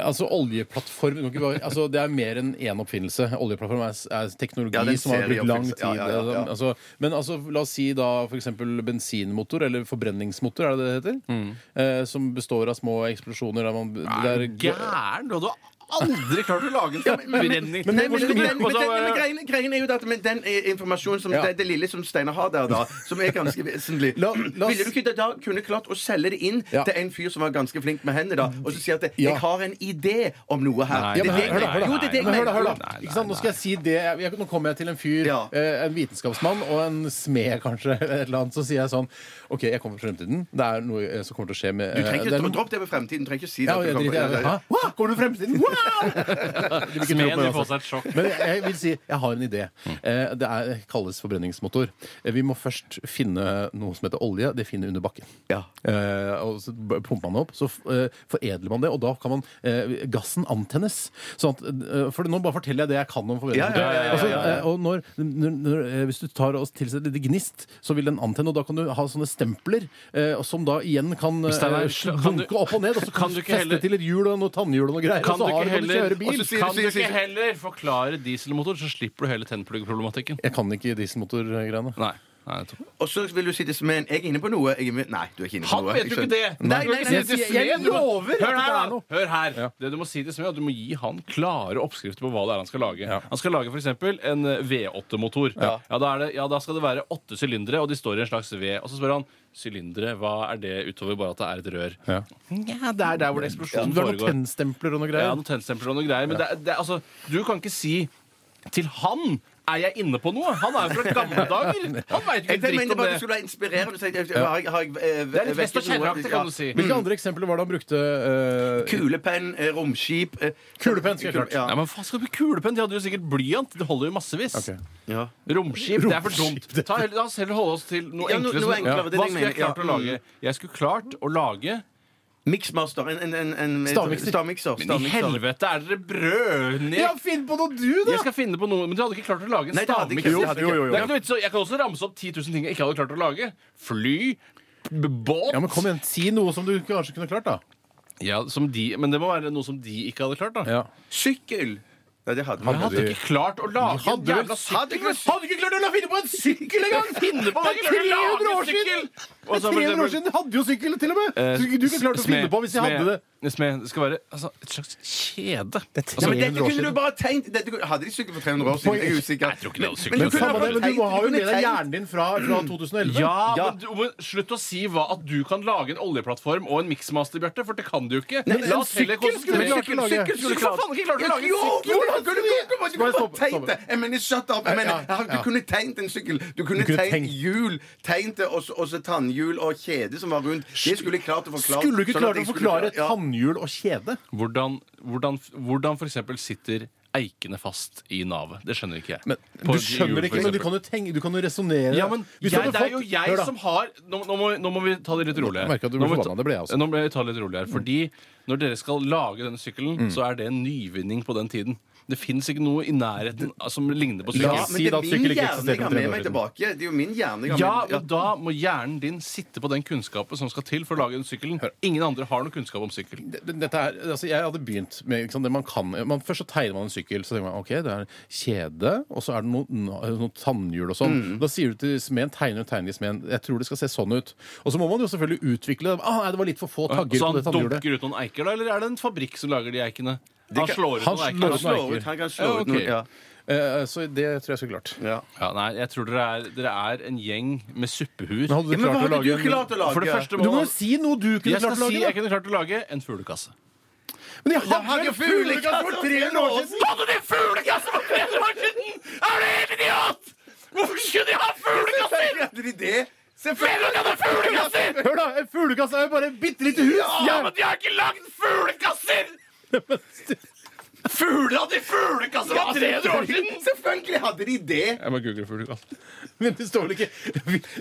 Speaker 3: Altså oljeplattform du kan ikke bare, altså, Det er mer enn én oppfinnelse. Oljeplattform er, er teknologi
Speaker 5: Ja, det er en
Speaker 3: som har brukt lang
Speaker 5: serieoppfinnelse.
Speaker 3: tid.
Speaker 5: Ja, ja, ja, ja.
Speaker 3: Altså, men altså, la oss si da f.eks. bensinmotor, eller forbrenningsmotor, er det det det heter?
Speaker 5: Mm.
Speaker 3: Eh, som består av små eksplosjoner der man
Speaker 2: Er du
Speaker 3: det er-
Speaker 2: gæren? Du hadde aldri klart å lage en forbrenning.
Speaker 5: Nei, men,
Speaker 2: Hvor
Speaker 5: men,
Speaker 2: skal
Speaker 5: men,
Speaker 2: du-
Speaker 5: men,
Speaker 2: Og så
Speaker 5: men, men
Speaker 2: bare-
Speaker 5: greien, greien er jo det at men, den eh, informasjonen som
Speaker 3: Ja.
Speaker 5: det, det lille som Steinar har der, da, som er ganske vesentlig
Speaker 3: La- la oss-
Speaker 5: Ville du ikke da kunne klart å selge det inn
Speaker 3: Ja.
Speaker 5: til en fyr som var ganske flink med hendene, da, og så si at det,
Speaker 3: Ja.
Speaker 5: 'jeg har en idé om noe her'?
Speaker 2: Nei,
Speaker 5: Det er
Speaker 3: men
Speaker 5: det jeg
Speaker 3: hør da,
Speaker 5: mener.
Speaker 3: hør da.
Speaker 5: Jo, det er det jeg
Speaker 3: Men hør da,
Speaker 5: mener.
Speaker 3: hør da.
Speaker 2: Nei, nei,
Speaker 3: Ikke sant? Nå skal jeg si det. Jeg, jeg, nå kommer jeg til en fyr,
Speaker 5: Ja.
Speaker 3: eh, en vitenskapsmann og en smed kanskje, eller et eller annet, så sier jeg sånn OK, jeg kommer fra fremtiden. Det er noe eh, som kommer til å skje med
Speaker 5: Du trenger
Speaker 3: eh, det
Speaker 5: ikke
Speaker 3: er
Speaker 5: dro-
Speaker 3: noe-
Speaker 5: dropp det med fremtiden. Du trenger ikke si det.
Speaker 3: Ja,
Speaker 5: at du
Speaker 3: jeg
Speaker 5: kommer-
Speaker 3: driter i det. Hæ? Hva? Kommer du fremtiden? Wow! Du vil ikke tro på
Speaker 2: Smeden
Speaker 3: det,
Speaker 2: vil få
Speaker 3: altså.
Speaker 2: seg et sjokk.
Speaker 3: Men jeg- jeg vil si jeg har en idé. Eh, Det er, kalles forbrenningsmotor. Eh, Vi må først finne noe som heter olje. Det finner vi under bakken.
Speaker 5: Ja.
Speaker 3: Eh, og så b- pumper man det opp, så f- eh, foredler man det, og da kan man eh, gassen antennes. Sånn at, eh, for nå bare forteller jeg det jeg kan om forbrenningsmotor.
Speaker 5: Ja, ja, ja, ja,
Speaker 3: Altså,
Speaker 5: ja, ja.
Speaker 3: eh, og når, når, når, eh, hvis du tar og tilsetter et lite gnist, så vil den antenne, og da kan du ha sånne stempler eh, og som da igjen kan eh,
Speaker 2: Steinar,
Speaker 3: sl-
Speaker 2: kan du-
Speaker 3: dunke opp og ned, og så
Speaker 2: kan
Speaker 3: kan
Speaker 2: du
Speaker 3: du
Speaker 2: ikke
Speaker 3: feste
Speaker 2: heller-
Speaker 3: til et hjul og noe tannhjul og noe greier.
Speaker 2: Kan du
Speaker 3: og så
Speaker 2: ikke
Speaker 3: har du kan du
Speaker 2: heller,
Speaker 3: kjøre bil.
Speaker 2: og så kan du ikke heller forklare dieselmotor, så slipper du hele tennpluggproblematikken.
Speaker 3: Jeg kan ikke dieselmotorgreiene.
Speaker 2: Nei. Nei, jeg tror-
Speaker 5: Og så vil du si til Smeen 'jeg er inne på noe'. Jeg er med. Nei, du er ikke inne på
Speaker 2: Han
Speaker 5: noe.
Speaker 2: vet
Speaker 5: Jeg
Speaker 2: jo ikke
Speaker 5: skjønner.
Speaker 2: det!
Speaker 5: Nei, nei, nei,
Speaker 3: jeg sier- jeg lover
Speaker 2: Hør
Speaker 3: at det
Speaker 2: her, da!
Speaker 3: er noe.
Speaker 2: Hør her. Det du må si til Smee, er at du må gi han klare oppskrifter på hva det er han skal lage. Han skal lage f.eks. en eh, V8-motor. Ja. da er det, ja, da skal det være åtte sylindere, og de står i en slags V. Og så spør han sylindere, hva er det utover bare at det er et rør?
Speaker 3: Ja.
Speaker 2: Nja, det er der hvor eksplosjonen
Speaker 3: Du har noen
Speaker 2: foregår.
Speaker 3: tennstempler og noe
Speaker 2: Ja,
Speaker 3: greier.
Speaker 2: noen tennstempelet og noen greier. Men det, er- det, er- altså, du kan ikke si til han er jeg inne på noe? Han er jo fra gamle dager! Han veit jo
Speaker 5: Jeg
Speaker 2: ikke en dritt
Speaker 5: tenkte
Speaker 2: om
Speaker 5: bare du
Speaker 2: det.
Speaker 5: skulle være inspirerende. Så tenkte jeg, har jeg, har jeg, eh,
Speaker 2: Det er litt vest og
Speaker 5: vekket noe?
Speaker 2: kjerreaktig, kan du si.
Speaker 3: Hvilke andre eksempler var det han brukte? eh,
Speaker 5: Kulepenn, eh, romskip eh,
Speaker 3: Kulepenn, skal jeg klart.
Speaker 5: Ja.
Speaker 2: Nei, men faen, skal du bli kulepenn? De hadde jo sikkert blyant. Det holder jo massevis.
Speaker 3: Ok.
Speaker 5: Ja.
Speaker 2: Romskip, det er for dumt.
Speaker 3: Romskip, det-
Speaker 2: Ta, heller- la oss heller holde oss til noe
Speaker 5: Ja, no-
Speaker 2: enklere.
Speaker 5: noe
Speaker 2: som-
Speaker 5: enklere, det er det
Speaker 2: Hva skulle
Speaker 5: jeg
Speaker 2: jeg
Speaker 5: mener,
Speaker 2: klart
Speaker 5: ja.
Speaker 2: å lage? Jeg skulle klart å lage
Speaker 5: Mixmaster. En, en, en, en eh,
Speaker 3: Stavmikser.
Speaker 5: stavmikser.
Speaker 2: Men i
Speaker 5: stavmikser.
Speaker 2: helvete, er dere brødne?
Speaker 3: Ja, finn på noe du, da!
Speaker 2: Jeg skal finne på noe, men du hadde ikke klart å lage en
Speaker 5: Nei, det hadde ikke-
Speaker 2: stavmikser.
Speaker 5: det hadde ikke- Jo, jo, jo.
Speaker 2: Det er ikke noe vits i å- Jeg kan også ramse opp 10 000 ting jeg ikke hadde klart å lage. Fly, b- båt
Speaker 3: Ja, men kom igjen, Si noe som du kanskje kunne klart, da.
Speaker 2: Ja, som de, men det må være noe som de ikke hadde klart, da.
Speaker 5: Sykkel. Nei, det hadde
Speaker 2: Jeg
Speaker 5: man
Speaker 2: hadde ikke klart å lage en
Speaker 3: Hadde
Speaker 2: jævla
Speaker 3: vel hadde ikke,
Speaker 2: sykkel!
Speaker 3: hadde ikke klart å la finne på en sykkel engang!
Speaker 2: Finne på-
Speaker 3: det er 300 år siden! Det er 300 år siden de hadde jo sykkel, til og
Speaker 2: Eh,
Speaker 3: med! Så du kunne klart å finne på hvis de hadde det.
Speaker 2: Smed. Det skal være altså, et slags kjede. Altså,
Speaker 5: Ja,
Speaker 3: 300
Speaker 5: men
Speaker 3: år
Speaker 5: dette kunne
Speaker 3: siden.
Speaker 5: du bare tenkt dette, kunne- Hadde de sykkel for 300 år siden? Jeg er usikker.
Speaker 2: Nei, jeg tror ikke de hadde sykkel.
Speaker 5: Men,
Speaker 3: Men,
Speaker 5: du kunne
Speaker 3: samme det,
Speaker 5: bare
Speaker 3: men du må
Speaker 5: tenkt-
Speaker 3: ha jo med
Speaker 5: kunne
Speaker 3: deg
Speaker 5: tenkt-
Speaker 3: hjernen din fra,
Speaker 5: Mm.
Speaker 3: fra 2011.
Speaker 2: Ja, men du, men slutt å si hva, at du kan lage en oljeplattform og en mixmaster, Bjarte, for det kan du jo ikke.
Speaker 3: men en sykkel skulle du klart å lage.
Speaker 2: Sykkel skulle du for faen ikke klart å lage!
Speaker 5: Jo,
Speaker 2: en sykkel.
Speaker 5: men du kunne- du kunne- du kunne
Speaker 3: Stopp,
Speaker 5: bare tegnet
Speaker 3: stopp.
Speaker 5: det! Jeg mener, shut up! Jeg mener, du kunne tegnet en sykkel. Du kunne
Speaker 3: kunne
Speaker 5: tegnet
Speaker 3: tegnet.
Speaker 5: hjul, tegnet det, og så- og så tannhjul og kjede som var rundt. Det skulle jeg klart å forklare.
Speaker 3: Skulle du ikke klart
Speaker 5: sånn at jeg
Speaker 3: å
Speaker 5: skulle
Speaker 3: forklare
Speaker 5: klart- ja.
Speaker 3: tannhjul og kjede?
Speaker 2: Hvordan, hvordan, hvordan for eksempel sitter eikene fast i navet? Det skjønner ikke jeg.
Speaker 3: Du skjønner det ikke, men du kan jo tenke, du kan jo resonnere.
Speaker 2: ja, men jeg,
Speaker 3: Hvis du hadde
Speaker 2: Det er jo
Speaker 3: fått-
Speaker 2: jeg
Speaker 3: Hør da.
Speaker 2: som har nå, nå, må, nå må vi ta det litt rolig her.
Speaker 3: Jeg merker at du
Speaker 2: Nå
Speaker 3: blir
Speaker 2: må vi ta-
Speaker 3: forbanna. Det ble jeg også. Mm.
Speaker 2: Nå ble jeg ta det litt rolig her. Fordi når dere skal lage denne sykkelen, så er det en nyvinning på den tiden. Det fins ikke noe i nærheten som ligner på
Speaker 3: La
Speaker 2: sykkel.
Speaker 5: Ja, men
Speaker 3: Si
Speaker 5: det
Speaker 3: da
Speaker 5: er
Speaker 3: at
Speaker 5: min
Speaker 3: sykkel ikke
Speaker 5: hjerne
Speaker 3: eksisterte
Speaker 5: jeg har
Speaker 3: for 300
Speaker 5: med
Speaker 3: år
Speaker 5: meg
Speaker 3: siden.
Speaker 5: tilbake. Det er jo min hjerne jeg
Speaker 2: Ja,
Speaker 5: har med
Speaker 2: men da må hjernen din sitte på den kunnskapen som skal til for å lage den sykkelen. Ingen andre har noe kunnskap om sykkel.
Speaker 3: Det- det- Dette er, altså jeg hadde begynt med ikke sant, det man kan man, Først så tegner man en sykkel. Så tenker man, ok, det er kjede, og så er det noe, na- noe tannhjul og
Speaker 2: Mm.
Speaker 3: sånn. Da sier du til smeden, tegner og tegner i smeden, jeg tror det skal se sånn ut. Og så må man jo selvfølgelig utvikle det. Ah, nei, det var litt for få tagger
Speaker 2: Så
Speaker 3: på
Speaker 2: han
Speaker 3: det tannhjulet.
Speaker 2: dunker ut noen eiker, da? Eller er det en fabrikk som lager de eikene? Han slår ut
Speaker 3: han
Speaker 2: noen
Speaker 3: slår
Speaker 2: eiker.
Speaker 3: ut
Speaker 2: da.
Speaker 3: noen-
Speaker 5: Slår ut, han kan slå
Speaker 2: Ja,
Speaker 5: ut noe.
Speaker 2: ok.
Speaker 5: Ja.
Speaker 3: Eh, så det tror jeg skulle klart.
Speaker 5: Ja.
Speaker 2: Ja, nei, jeg tror dere er, dere er en gjeng med suppehuer.
Speaker 3: Men hadde du
Speaker 5: Ja, men hva
Speaker 3: klart å
Speaker 5: hadde
Speaker 3: lage
Speaker 5: du
Speaker 3: en-
Speaker 5: klart å lage?
Speaker 2: For det første
Speaker 3: Du
Speaker 2: må
Speaker 3: må jo
Speaker 2: man
Speaker 3: si noe du kunne
Speaker 2: jeg skal
Speaker 3: klart å
Speaker 2: si
Speaker 3: lage.
Speaker 2: jeg
Speaker 3: da.
Speaker 2: kunne klart å lage en fuglekasse.
Speaker 3: Men jeg
Speaker 5: Jeg har
Speaker 3: hadde
Speaker 5: ikke
Speaker 3: en fuglekasse for 300 år siden!
Speaker 2: Hadde de fuglekasse for 300 år siden?! Er du helt idiot?! Hvorfor skulle de ha fuglekasser?!
Speaker 5: Hadde de det?
Speaker 2: Hvem hadde fuglekasser?!
Speaker 3: Hør da, en fuglekasse er jo bare et bitte lite hus!
Speaker 2: Ja, men de har ikke lagd fuglekasser! Fugler hadde i fuglekasse for 300 år siden!
Speaker 5: Selvfølgelig hadde de det!
Speaker 2: Jeg må google fuglekasse.
Speaker 3: Men det står vel ikke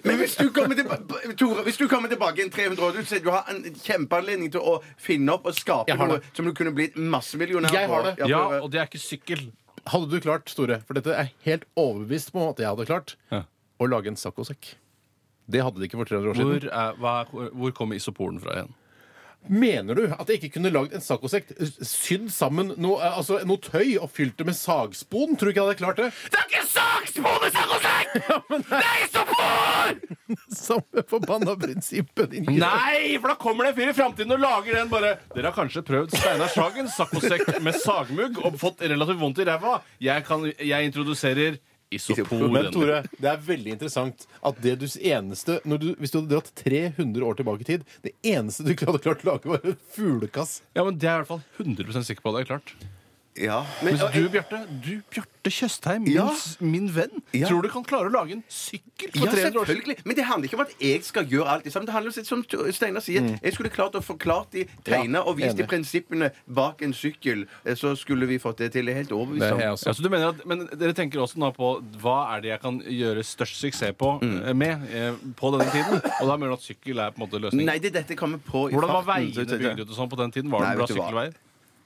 Speaker 5: Men hvis du kommer, tilba Tore, hvis du kommer tilbake en 300 år, du ser du har en kjempeanledning til å finne opp og skape
Speaker 3: Jeg har
Speaker 5: noe
Speaker 3: det.
Speaker 5: som du kunne blitt massemillionær
Speaker 3: Jeg har det.
Speaker 5: på.
Speaker 2: Ja,
Speaker 5: for-
Speaker 2: og det er ikke sykkel.
Speaker 3: Hadde du klart, Tore, for dette er helt overbevist på at jeg hadde klart,
Speaker 2: Ja.
Speaker 3: å lage en saccosekk? Det hadde de ikke for 300 år
Speaker 2: Hvor,
Speaker 3: siden.
Speaker 2: er, hva, er- hvor kommer isoporen fra igjen?
Speaker 3: Mener du at jeg ikke kunne lagd en saccosekk sydd sammen noe, eh, altså, noe tøy og fylt det med sagspon? Tror du ikke jeg hadde klart det?
Speaker 2: Det er ikke sagspon i saccosekk! Det er isopor!
Speaker 3: Samme forbanna prinsippet, din
Speaker 2: Nei, for da kommer det en fyr i framtiden og lager den bare Dere har kanskje prøvd Steinar Sagen, saccosekk med sagmugg og fått relativt vondt i ræva. Jeg, kan, jeg introduserer
Speaker 3: Men
Speaker 2: isoporen.
Speaker 3: Tore, det er veldig interessant at det du eneste når du, Hvis du hadde dratt 300 år tilbake i tid, det eneste du ikke hadde klart å lage, var en fuglekass.
Speaker 2: Ja, men Det er jeg i hvert fall 100 sikker på at jeg har klart.
Speaker 5: ja.
Speaker 2: Mens du, Bjarte du, Bjarte Tjøstheim, min,
Speaker 5: Ja.
Speaker 2: s- min venn,
Speaker 5: Ja.
Speaker 2: tror du kan klare å lage en sykkel på
Speaker 5: Ja,
Speaker 2: 300 år siden?
Speaker 5: selvfølgelig. Men det handler ikke om at jeg skal gjøre alt det samme. Det handler om, som Steinar sier,
Speaker 2: Mm.
Speaker 5: jeg skulle klart å forklart de tegna og vist de
Speaker 3: enig.
Speaker 5: prinsippene bak en sykkel. eh, Så skulle vi fått det til. Jeg er helt overbevist om.
Speaker 3: altså.
Speaker 2: Ja, så du mener at, men dere tenker også nå på hva er det jeg kan gjøre størst suksess på
Speaker 5: Mm.
Speaker 2: eh, med eh, på denne tiden? Og da mener du at sykkel er på en måte løsningen?
Speaker 5: Nei, det er dette jeg kommer på i
Speaker 2: Hvordan var
Speaker 5: farten, så-
Speaker 2: veiene bygd ut og sånn på den tiden? Var
Speaker 5: Nei,
Speaker 2: det bra
Speaker 5: vet du hva.
Speaker 2: sykkelveier?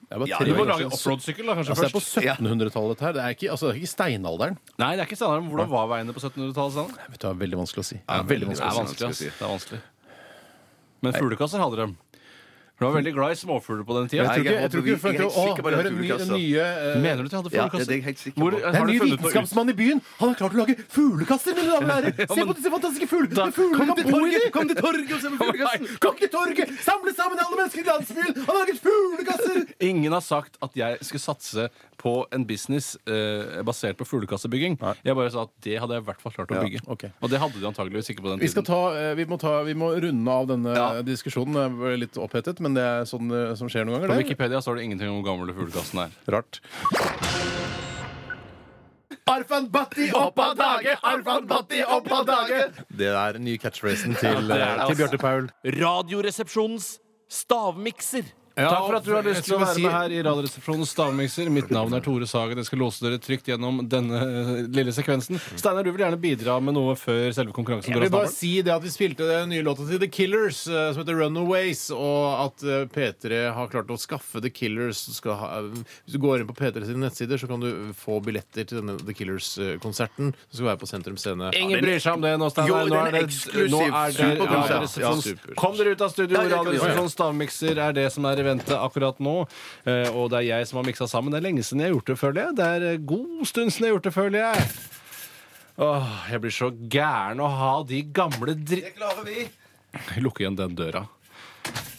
Speaker 3: Det er bare
Speaker 5: Ja,
Speaker 3: tre
Speaker 2: Du må
Speaker 3: år
Speaker 2: lage
Speaker 3: siden.
Speaker 2: offroad-sykkel, da, kanskje
Speaker 3: Altså, det er på
Speaker 2: først?
Speaker 3: 1700-tallet dette her. Det er ikke, altså, det er ikke steinalderen.
Speaker 2: Nei, det er ikke standard. men Hvordan var veiene på 1700-tallet? Steinar?
Speaker 3: Vet du, det er veldig vanskelig å si.
Speaker 2: Det er veldig
Speaker 5: vanskelig å si,
Speaker 2: vanskelig, ass. Det er vanskelig. Men fuglekasser hadde de. For de var veldig glad i småfugler på den tida.
Speaker 3: Jeg tror
Speaker 5: Nei,
Speaker 3: ikke,
Speaker 5: jeg
Speaker 3: jeg tror ikke
Speaker 5: håper
Speaker 3: du følte
Speaker 5: vi- jeg er helt sikker på
Speaker 3: Å,
Speaker 5: det,
Speaker 3: hør,
Speaker 5: Tore
Speaker 3: nye,
Speaker 5: Kasse.
Speaker 3: nye eh,
Speaker 2: Mener du at de hadde
Speaker 5: Ja, det er
Speaker 2: fuglekasser?
Speaker 5: jeg helt sikker på.
Speaker 3: det er
Speaker 2: har
Speaker 3: en
Speaker 2: du funnet
Speaker 3: ny
Speaker 2: noe ut-
Speaker 3: vitenskapsmann i byen! Han har klart å lage fuglekasser! mine damer og herrer. Se på disse fantastiske fuglene! Fuglene man bor i!
Speaker 5: Kom til torget og se på fuglekassen!
Speaker 3: Kom til torget! Samle sammen alle mennesker i landsbyen! Han har laget fuglekasser!
Speaker 2: Ingen har sagt at jeg skulle satse på en business eh, basert på fuglekassebygging. Jeg bare sa at det hadde jeg i hvert fall klart å bygge.
Speaker 3: ok.
Speaker 2: Og det hadde de antageligvis ikke på den
Speaker 3: Vi, skal
Speaker 2: tiden.
Speaker 3: ta, eh, vi, må ta, vi må runde av denne
Speaker 2: Ja.
Speaker 3: eh, diskusjonen. Jeg ble litt opphetet, men det er sånn eh, som skjer noen
Speaker 2: På
Speaker 3: ganger. det.
Speaker 2: Wikipedia står det ingenting om hvor gammel fuglekassen er.
Speaker 3: Rart. Arfan Bhatti opp av dage! Arfan Bhatti opp av dage! Det er den nye catchphrasen til,
Speaker 2: det er det,
Speaker 3: eh, til
Speaker 2: altså.
Speaker 3: Bjarte Paul.
Speaker 6: Radioresepsjonens stavmikser.
Speaker 2: Takk for at du har lyst til å være
Speaker 3: si-
Speaker 2: med her i Radioresepsjonens stavmikser. Mitt navn er Tore Sagen. Jeg skal låse dere trygt gjennom denne eh, lille sekvensen. Steinar, du vil gjerne bidra med noe før selve konkurransen
Speaker 3: Jeg
Speaker 2: går
Speaker 3: vil
Speaker 2: av
Speaker 3: bare
Speaker 2: stabelen?
Speaker 3: si det at Vi spilte den nye låta til The Killers, eh, som heter Runaways, og at eh, P3 har klart å skaffe The Killers. som Skal ha, eh, hvis du går inn på P3 sine nettsider, så kan du få billetter til denne The Killers-konserten. eh, Som skal være på Sentrum Scene.
Speaker 2: Ingen bryr seg om det nå,
Speaker 5: Jo,
Speaker 2: Steinar. Nå
Speaker 5: den
Speaker 2: er
Speaker 5: er
Speaker 2: det,
Speaker 5: eksklusiv.
Speaker 2: nå er det
Speaker 5: Superkonsert.
Speaker 2: Radioresepsjonens-
Speaker 3: Ja, super.
Speaker 2: Kom dere ut av studio!
Speaker 5: Ja, ja, ja.
Speaker 2: Radioresepsjonens stavmikser er det som er i vente akkurat nå. Eh, Og det er jeg som har miksa sammen. Det er lenge siden jeg har gjort det, føler jeg. Det er eh, god stund siden jeg har gjort det, føler jeg. Åh, jeg blir så gæren å ha de gamle dritt...
Speaker 5: Det klarer vi.
Speaker 2: Lukke igjen den døra.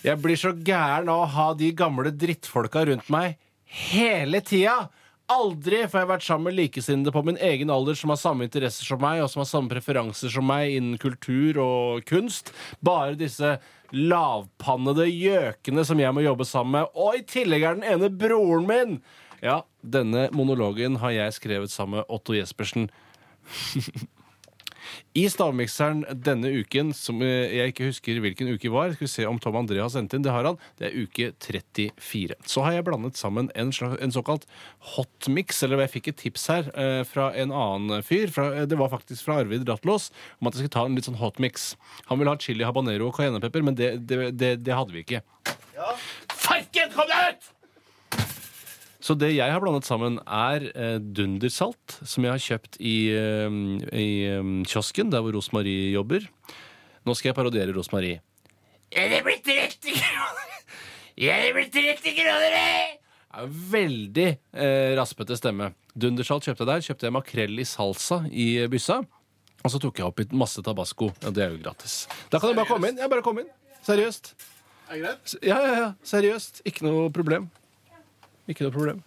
Speaker 2: Jeg blir så gæren av å ha de gamle drittfolka rundt meg hele tida. Aldri får jeg vært sammen med likesinnede på min egen alder som har samme interesser som meg, og som har samme preferanser som meg innen kultur og kunst. Bare disse lavpannede gjøkene som jeg må jobbe sammen med. Og i tillegg er den ene broren min! Ja, denne monologen har jeg skrevet sammen med Otto Jespersen. I stavmikseren denne uken, som eh, jeg ikke husker hvilken uke var Skal vi se om Tom André har sendt inn. Det har han. Det er uke 34. Så har jeg blandet sammen en, slags, en såkalt hotmix, eller jeg fikk et tips her eh, fra en annen fyr. Fra, eh, det var faktisk fra Arvid Rattlås om at jeg skulle ta en litt sånn hotmix. Han ville ha chili habanero og cayennepepper, men det, det, det, det hadde vi ikke. Farken, kom deg ut! Så det jeg har blandet sammen, er eh, dundersalt, som jeg har kjøpt i, eh, i eh, kiosken, der hvor Rosmarie jobber. Nå skal jeg parodiere Rosmarie. Jeg blir 30 kroner! Jeg blir 30 kroner! eh! Er en veldig eh, raspete stemme. Dundersalt kjøpte jeg der. Kjøpte jeg makrell i salsa i eh, byssa. Og så tok jeg opp i masse tabasco. Ja, det er jo gratis. Da kan jeg bare komme inn. Jeg bare komme inn. Seriøst. S- Ja, ja, ja. Seriøst. Ikke noe problem. Ikke noe problem.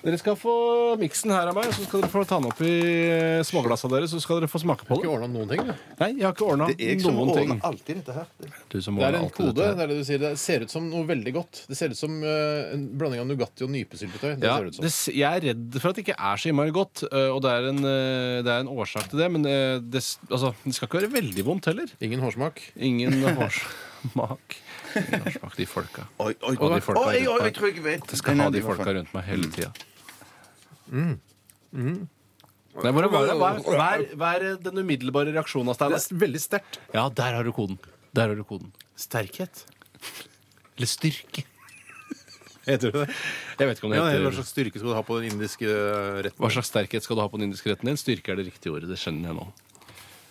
Speaker 2: Dere skal få miksen her av meg, så skal dere få ta den opp i eh, småglassa deres. Så skal dere få smake på
Speaker 3: Ikke
Speaker 2: det.
Speaker 3: ordna noen ting. du.
Speaker 2: Nei, jeg har ikke ordna
Speaker 5: Det er jeg som
Speaker 2: noen ting.
Speaker 5: ordner alltid dette her.
Speaker 2: Du som
Speaker 3: Det
Speaker 2: ordner
Speaker 3: er en
Speaker 2: alltid
Speaker 3: kode.
Speaker 2: dette her.
Speaker 3: det er det du sier. Det ser ut som noe veldig godt. Det ser ut som eh, en blanding av Nugatti og nypesyltetøy. Det
Speaker 2: Ja,
Speaker 3: ser det ut som.
Speaker 2: det, s- jeg er redd for at det ikke er så innmari godt, øh, og det er, en, øh, det er en årsak til det. Men øh, det, s- altså, det skal ikke være veldig vondt heller.
Speaker 3: Ingen hårsmak.
Speaker 2: Ingen hårsmak. Ingen hårsmak, de folka.
Speaker 5: Oi, oi,
Speaker 2: Og de
Speaker 5: oi,
Speaker 2: folka
Speaker 5: oi,
Speaker 2: rundt
Speaker 5: oi,
Speaker 2: meg.
Speaker 5: jeg tror jeg vet.
Speaker 2: Jeg Mm. skal
Speaker 5: Nei,
Speaker 2: ha
Speaker 5: nei,
Speaker 2: de
Speaker 5: det var
Speaker 2: folka
Speaker 5: feil.
Speaker 2: rundt meg hele tida. Nei, hvordan var det? Mm. Hva er- Hva er- hva er den umiddelbare reaksjonen av Steinar?
Speaker 3: veldig sterkt.
Speaker 2: Ja, der har du koden. Der har du koden.
Speaker 3: Sterkhet?
Speaker 2: Eller styrke.
Speaker 3: Heter det det?
Speaker 2: Jeg vet ikke om det
Speaker 3: Ja, hva
Speaker 2: heter
Speaker 3: slags styrke skal du ha på den indiske eh, retten?
Speaker 2: Hva slags sterkhet skal du ha på den indiske retten din? Styrke er det riktige ordet. Det skjønner jeg nå.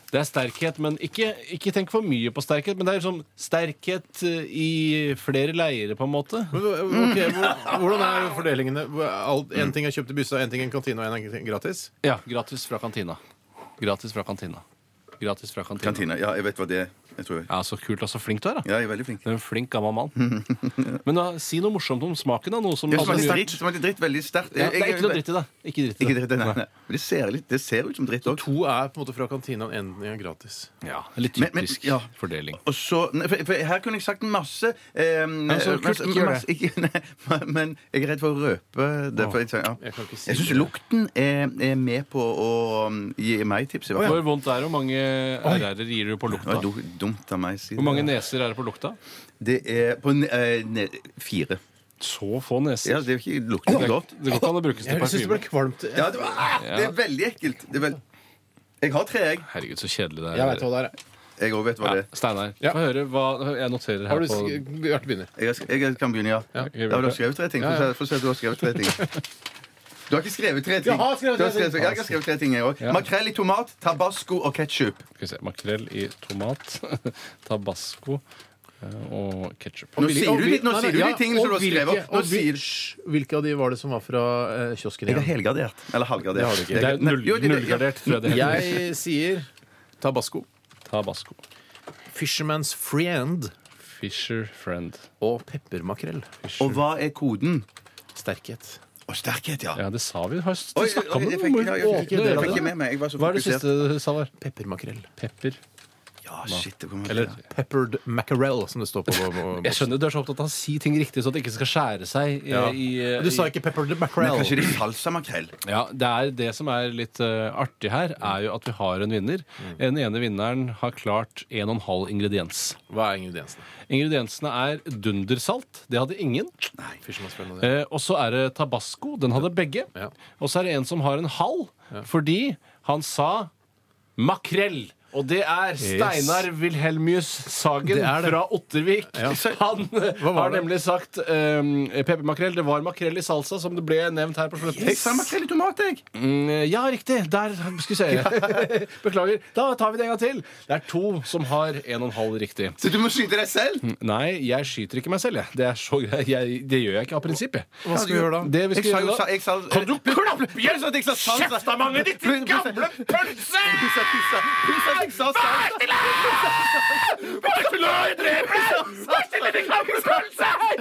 Speaker 2: Det er sterkhet, men ikke, ikke tenk for mye på sterkhet. Men det er liksom sterkhet eh, i flere leirer, på en måte.
Speaker 3: Men, ok, hvor- hvordan er fordelingene? Hvor- alt- En ting er kjøpt i byssa, en ting er i kantina, og en er gratis?
Speaker 2: Ja, gratis fra kantina. Gratis fra kantina. Gratis fra kantina.
Speaker 5: Kantina. Ja, jeg vet hva det er. Jeg tror jeg.
Speaker 2: Ja, Så kult og så flink du er, da.
Speaker 5: Ja, jeg er veldig flink.
Speaker 2: Du er en flink gammel mann. Men da, si noe morsomt om smaken. da Noe som
Speaker 5: Det
Speaker 2: alle-
Speaker 5: smakte dritt. det smakte dritt veldig sterkt.
Speaker 2: ja, Det er ikke noe dritt i det. Ikke dritt i
Speaker 5: Ikke
Speaker 2: det.
Speaker 5: dritt, nei, nei. Men det ser, litt, det ser ut som dritt òg.
Speaker 3: To er på en måte fra kantina, og en er gratis.
Speaker 2: Ja, Litt
Speaker 5: Men- men-
Speaker 2: typisk
Speaker 5: ja.
Speaker 2: fordeling.
Speaker 5: Og så, nei, for, for her kunne jeg sagt masse eh,
Speaker 2: så kult,
Speaker 5: masse-
Speaker 2: ikke gjør
Speaker 5: masse- ikke- nei, men- Men jeg er redd for å røpe det. For jeg ja.
Speaker 3: Jeg kan ikke si
Speaker 5: jeg syns
Speaker 3: det.
Speaker 5: lukten er, er med på å um, gi meg tips. i hvert
Speaker 2: Hvor
Speaker 5: fall.
Speaker 2: vondt er det? Hvor mange RR-er gir du på
Speaker 5: Det
Speaker 2: lukta?
Speaker 5: var du- dumt av meg å si
Speaker 2: Hvor mange
Speaker 5: det.
Speaker 2: neser er det på lukta?
Speaker 5: Det er på ne eh, ne fire.
Speaker 2: Så få neser.
Speaker 5: Ja, det er ikke lukter ikke godt.
Speaker 2: Det går ikke an å brukes til
Speaker 3: Jeg syns det ble
Speaker 2: parfyme.
Speaker 3: kvalmt.
Speaker 5: Ja, det, var, ah, det er veldig ekkelt. Det er vel... Jeg har tre, jeg.
Speaker 2: Herregud, så kjedelig det er.
Speaker 3: Jeg vet hva det er.
Speaker 5: Jeg òg vet hva
Speaker 2: ja,
Speaker 5: det er.
Speaker 2: Steinar,
Speaker 3: Ja.
Speaker 2: få høre hva Jeg noterer
Speaker 3: Har
Speaker 2: her
Speaker 3: du
Speaker 2: på
Speaker 3: sk- Bjarte begynner.
Speaker 5: Jeg, har sk- jeg kan begynne, ja. ja.
Speaker 2: jeg
Speaker 5: du
Speaker 2: vil-
Speaker 5: har skrevet tre ting. Få
Speaker 3: Ja, ja.
Speaker 5: se- Få se at du har skrevet tre ting. Du har ikke skrevet tre ting.
Speaker 3: Jeg har skrevet
Speaker 5: Du
Speaker 3: tre ting.
Speaker 5: ja, jeg har skrevet tre ting, jeg òg. Makrell i tomat, tabasco og ketsjup.
Speaker 2: skal vi se, makrell i tomat, tabasco eh, og ketsjup.
Speaker 5: Nå sier du de, nå sier du de tingene som du har skrevet. Nå
Speaker 3: Og
Speaker 5: sier
Speaker 3: hvil- Hysj, hvilke av de var det som var fra eh, kiosken
Speaker 5: Jeg er
Speaker 3: igjen?
Speaker 5: helgardert. Eller halvgardert.
Speaker 3: Det har du ikke.
Speaker 2: Det er
Speaker 5: Nei,
Speaker 2: null,
Speaker 5: jo, det- det-
Speaker 2: nullgradert, tror jeg det heter.
Speaker 3: Jeg sier tabasco.
Speaker 2: Tabasco.
Speaker 3: Fisherman's friend
Speaker 2: Fisher friend.
Speaker 3: og peppermakrell.
Speaker 5: Ja. Og hva er koden?
Speaker 3: Sterkhet.
Speaker 5: Og sterkhet, ja.
Speaker 2: Ja, det sa vi. Har
Speaker 5: Oi, oi,
Speaker 2: snakka om
Speaker 5: oi,
Speaker 2: det.
Speaker 5: jeg
Speaker 2: Må
Speaker 5: fikk, ja,
Speaker 2: vi
Speaker 5: jeg fikk,
Speaker 2: åpne døra
Speaker 5: jeg
Speaker 2: til
Speaker 5: fikk ikke
Speaker 2: det?
Speaker 5: med meg. Jeg var så
Speaker 2: Hva er det
Speaker 5: fokusert.
Speaker 2: siste du sa var?
Speaker 3: Peppermakrell.
Speaker 2: Pepper?
Speaker 5: Ja, shit, det kommer
Speaker 2: Eller
Speaker 3: Peppered mackerel, som det står på. på, på
Speaker 2: Jeg skjønner du er så opptatt av å si ting riktig, så det ikke skal skjære seg. i-
Speaker 3: Ja.
Speaker 2: i,
Speaker 3: eh, Men Du sa ikke peppered
Speaker 5: Men
Speaker 3: mackerel.
Speaker 5: kanskje det er salsamakrell?
Speaker 2: Ja, det, er det som er litt eh, artig her, er jo at vi har en vinner.
Speaker 5: Mm.
Speaker 2: Den ene vinneren har klart en og en halv ingrediens.
Speaker 3: Hva er ingrediensene?
Speaker 2: Ingrediensene er dundersalt. Det hadde ingen.
Speaker 3: Fisherman's friend og det.
Speaker 2: Eh, og så er det tabasco. Den hadde begge.
Speaker 3: Ja.
Speaker 2: Og så er det en som har en halv, fordi han sa makrell. Og Og det er Steinar Wilhelmius Sagen
Speaker 3: Det er det.
Speaker 2: fra Ottervik. Han eh, har
Speaker 3: var det?
Speaker 2: nemlig sagt um, peppermakrell. Det var makrell i salsa, som det ble nevnt her på slutten.
Speaker 5: Jeg sa makrell i tomat, jeg.
Speaker 2: Mm, ja, riktig. Der skal vi se. Beklager. Da tar vi det en gang til. Det er to som har en og en halv riktig.
Speaker 5: Så du må skyte deg selv?
Speaker 2: Nei, jeg skyter ikke meg selv, jeg. Det, er så, greit. jeg, det gjør jeg ikke av prinsipp, jeg.
Speaker 5: Hva skal vi gjøre da?
Speaker 2: Det vi skal
Speaker 5: jeg sa
Speaker 2: gjøre
Speaker 5: jo
Speaker 2: da-
Speaker 5: sa- jeg sa, Kan du klappe igjen? Kjeftamanget ditt, din gamle pølse! Pissa, pissa, pissa, jeg sa salsa.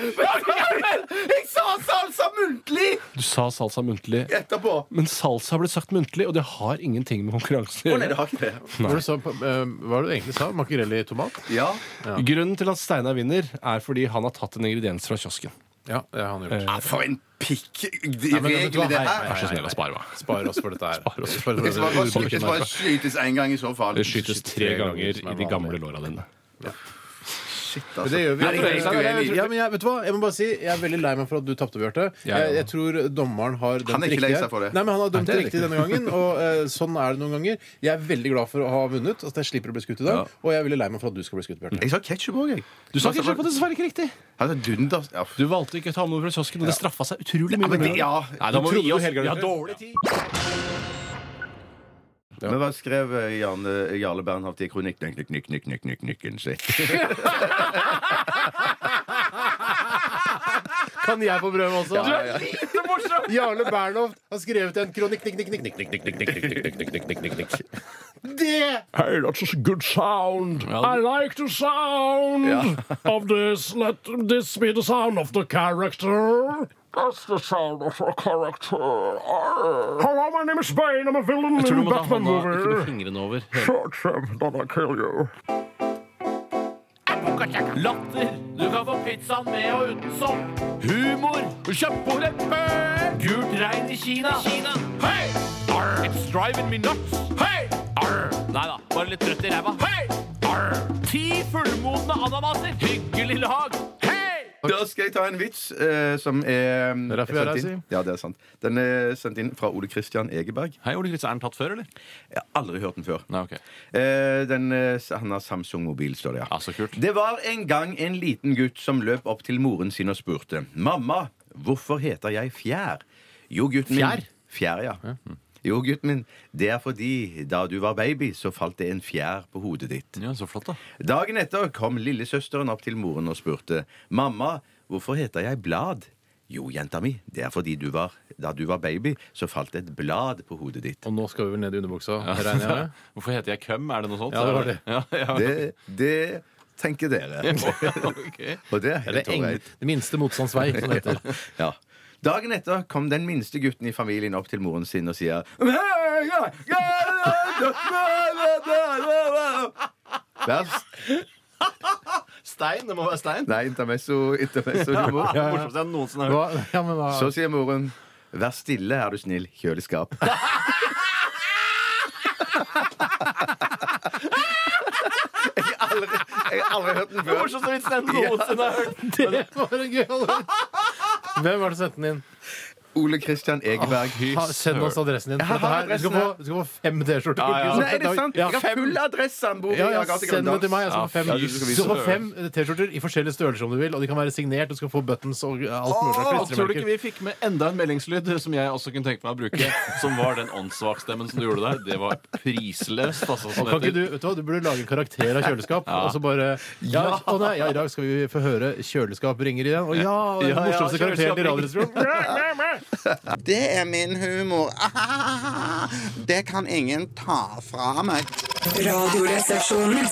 Speaker 5: Jeg sa salsa muntlig
Speaker 2: Du sa salsa muntlig.
Speaker 5: etterpå.
Speaker 2: Men salsa ble sagt muntlig, og det har ingenting med konkurransen å
Speaker 5: Å
Speaker 2: gjøre.
Speaker 5: nei, det har ikke det.
Speaker 3: Hva var det du sa- eh, hva var det du egentlig sa? Makrell i tomat?
Speaker 5: Ja.
Speaker 2: Grunnen til at Steinar vinner, er fordi han har tatt en ingrediens fra kiosken.
Speaker 3: Eh, Ja, det har han gjort.
Speaker 5: For en pikk
Speaker 3: men vet du hva?
Speaker 5: regel det
Speaker 3: Hei,
Speaker 5: her.
Speaker 2: Vær så snill å spare meg.
Speaker 3: Spar oss for dette her. altså. Spar oss
Speaker 5: Det skal bare skytes- det skal bare skytes én gang i så fall.
Speaker 2: Det skytes tre ganger i de gamle låra dine.
Speaker 5: Shit, altså.
Speaker 3: Det gjør vi.
Speaker 5: Nei, jeg er helt uenig.
Speaker 3: Ja, men jeg, vet du hva? jeg må bare si Jeg er veldig lei meg for at du tapte, Bjarte.
Speaker 2: Ja, ja.
Speaker 3: Jeg, jeg tror dommeren har dømt
Speaker 5: Han er ikke
Speaker 3: riktig
Speaker 5: lei
Speaker 3: her.
Speaker 5: seg for det.
Speaker 3: Nei, men Han har dømt
Speaker 2: Nei, det er
Speaker 3: riktig denne gangen, og eh, sånn er det noen ganger. Jeg er veldig glad for å ha vunnet, at jeg slipper å bli skutt i dag. Og jeg er veldig lei meg for at du skal bli skutt, Bjarte.
Speaker 5: Jeg sa ketsjup òg, jeg.
Speaker 2: Du sa ketchup, og det er dessverre ikke riktig.
Speaker 5: Han sa dunder. Ja, f-
Speaker 2: Du valgte ikke å ta med noe fra kiosken, og det straffa seg utrolig mye.
Speaker 5: men det- ja.
Speaker 2: Nei, da må vi gi oss. Vi har
Speaker 3: Helgarantert.
Speaker 2: dårlig tid.
Speaker 5: Men hva skrev eh, Jarle, Jarle Bernhoft i kronikk nyk, nyk, nyk, nyk, nyk, nyk, nykken sin?
Speaker 3: Kan jeg få prøve også?
Speaker 5: Ja, ja.
Speaker 3: Jarle Bernhoft har skrevet en kronikk nikk, nikk, nikk, nikk, nikk, nikk, nikk, nikk, nikk, nikk, nikk, nikk, nikk, nikk. Det!
Speaker 7: Hey, that's a good sound. I like the sound of this. Let this be the sound of the character. That's the sound of a character. Arr. Hello, my name is Bane. I'm a villain
Speaker 2: Jeg tror
Speaker 7: in
Speaker 2: du må ta
Speaker 7: Batman
Speaker 2: hånda, ikke med
Speaker 7: movie.
Speaker 2: fingrene over.
Speaker 7: Shut him, then I kill you.
Speaker 6: Latter. Du kan få pizzaen med og uten sopp. Humor. Kjøp på leppe. Gult regn i Kina. Kina. Hei! Arr. It's driving me nuts. Hei! Arr. Nei da, bare litt trøtt i ræva. Hei! Arr. Ti fullmodne ananaser. Hyggelig lag. Hei!
Speaker 5: Da skal jeg ta en vits eh, som er Det
Speaker 3: er derfor vi er her, sier.
Speaker 5: Ja, det er sant. Den er sendt inn fra Ole Christian Egeberg.
Speaker 2: Hei, Ole Kristian, er den tatt før, eller?
Speaker 5: Jeg har aldri hørt den før.
Speaker 2: Nei, ok.
Speaker 5: Eh, den, eh, han har Samsung-mobil, står det.
Speaker 2: Ja, så kult.
Speaker 5: Det var en gang en liten gutt som løp opp til moren sin og spurte Mamma, hvorfor heter jeg Fjær? Jo, gutten min
Speaker 3: Fjær?
Speaker 5: Fjær, ja.
Speaker 2: hm.
Speaker 5: Jo, gutten min, det er fordi da du var baby, så falt det en fjær på hodet ditt.
Speaker 2: Ja, så flott, da.
Speaker 5: Dagen etter kom lillesøsteren opp til moren og spurte Mamma, hvorfor heter jeg Blad? Jo, jenta mi, det er fordi du var, da du var baby, så falt det et blad på hodet ditt.
Speaker 3: Og nå skal vi vel ned i underbuksa, regner jeg med?
Speaker 2: Hvorfor heter jeg Køm? Er det noe sånt?
Speaker 3: Ja, det var det.
Speaker 2: Ja, ja.
Speaker 5: Det, det tenker dere.
Speaker 2: Ok.
Speaker 5: Og det
Speaker 3: Det
Speaker 5: er helt
Speaker 3: er eng,
Speaker 5: ålreit.
Speaker 3: det minste motstands vei, som det heter.
Speaker 5: Ja. Dagen etter kom den minste gutten i familien opp til moren sin og sier Vær s-
Speaker 2: Stein, det må være stein.
Speaker 5: Nei, intermezzo, intermezzo humor.
Speaker 2: Morsomste jeg noensinne har hørt.
Speaker 3: Hva? Ja, men hva?
Speaker 5: Så sier moren Vær stille, er du snill. Kjøleskap. Jeg har aldri, jeg har aldri hørt den før.
Speaker 2: morsomste vitsen jeg noensinne har hørt.
Speaker 3: Det var en gøy Hvem var det som sendte den inn?
Speaker 5: Ole Christian Egeberg.
Speaker 3: Ha, send oss adressen din. For
Speaker 5: Jeg
Speaker 3: dette
Speaker 5: har
Speaker 3: her, du, skal få, du
Speaker 5: adressen
Speaker 3: skal få fem T-skjorter.
Speaker 2: Ja, ja.
Speaker 5: Nei, er det
Speaker 3: Ja,
Speaker 5: sant? Jeg har
Speaker 3: fem-
Speaker 5: full adresseanbok.
Speaker 3: ja, ja, send det til meg. Jeg skal få fem,
Speaker 2: Ja, fy
Speaker 3: du skal få fem T-skjorter i forskjellige størrelser om du vil. Og de kan være signert, du skal få buttons og alt mulig.
Speaker 2: Åh,
Speaker 3: slags
Speaker 2: tror du ikke
Speaker 3: klistremerker.
Speaker 2: vi fikk med enda en meldingslyd som jeg også kunne tenke meg å bruke? Som var den åndssvakstemmen som du gjorde der. Det var prisløst, altså. Som
Speaker 3: Og kan
Speaker 2: det
Speaker 3: ikke du,
Speaker 2: heter.
Speaker 3: vet du, hva, du burde lage en karakter av kjøleskap. Og så bare ja, Å nei, ja, i dag skal vi få høre 'Kjøleskap ringer' igjen. Og ja,
Speaker 2: Ja,
Speaker 3: den
Speaker 2: ja,
Speaker 3: morsomste
Speaker 2: kjøleskap
Speaker 3: karakteren i
Speaker 2: ringer.
Speaker 3: Radioresepsjonen.
Speaker 8: Det er min humor. Ah, det kan ingen ta fra meg.
Speaker 9: Radioresepsjonen.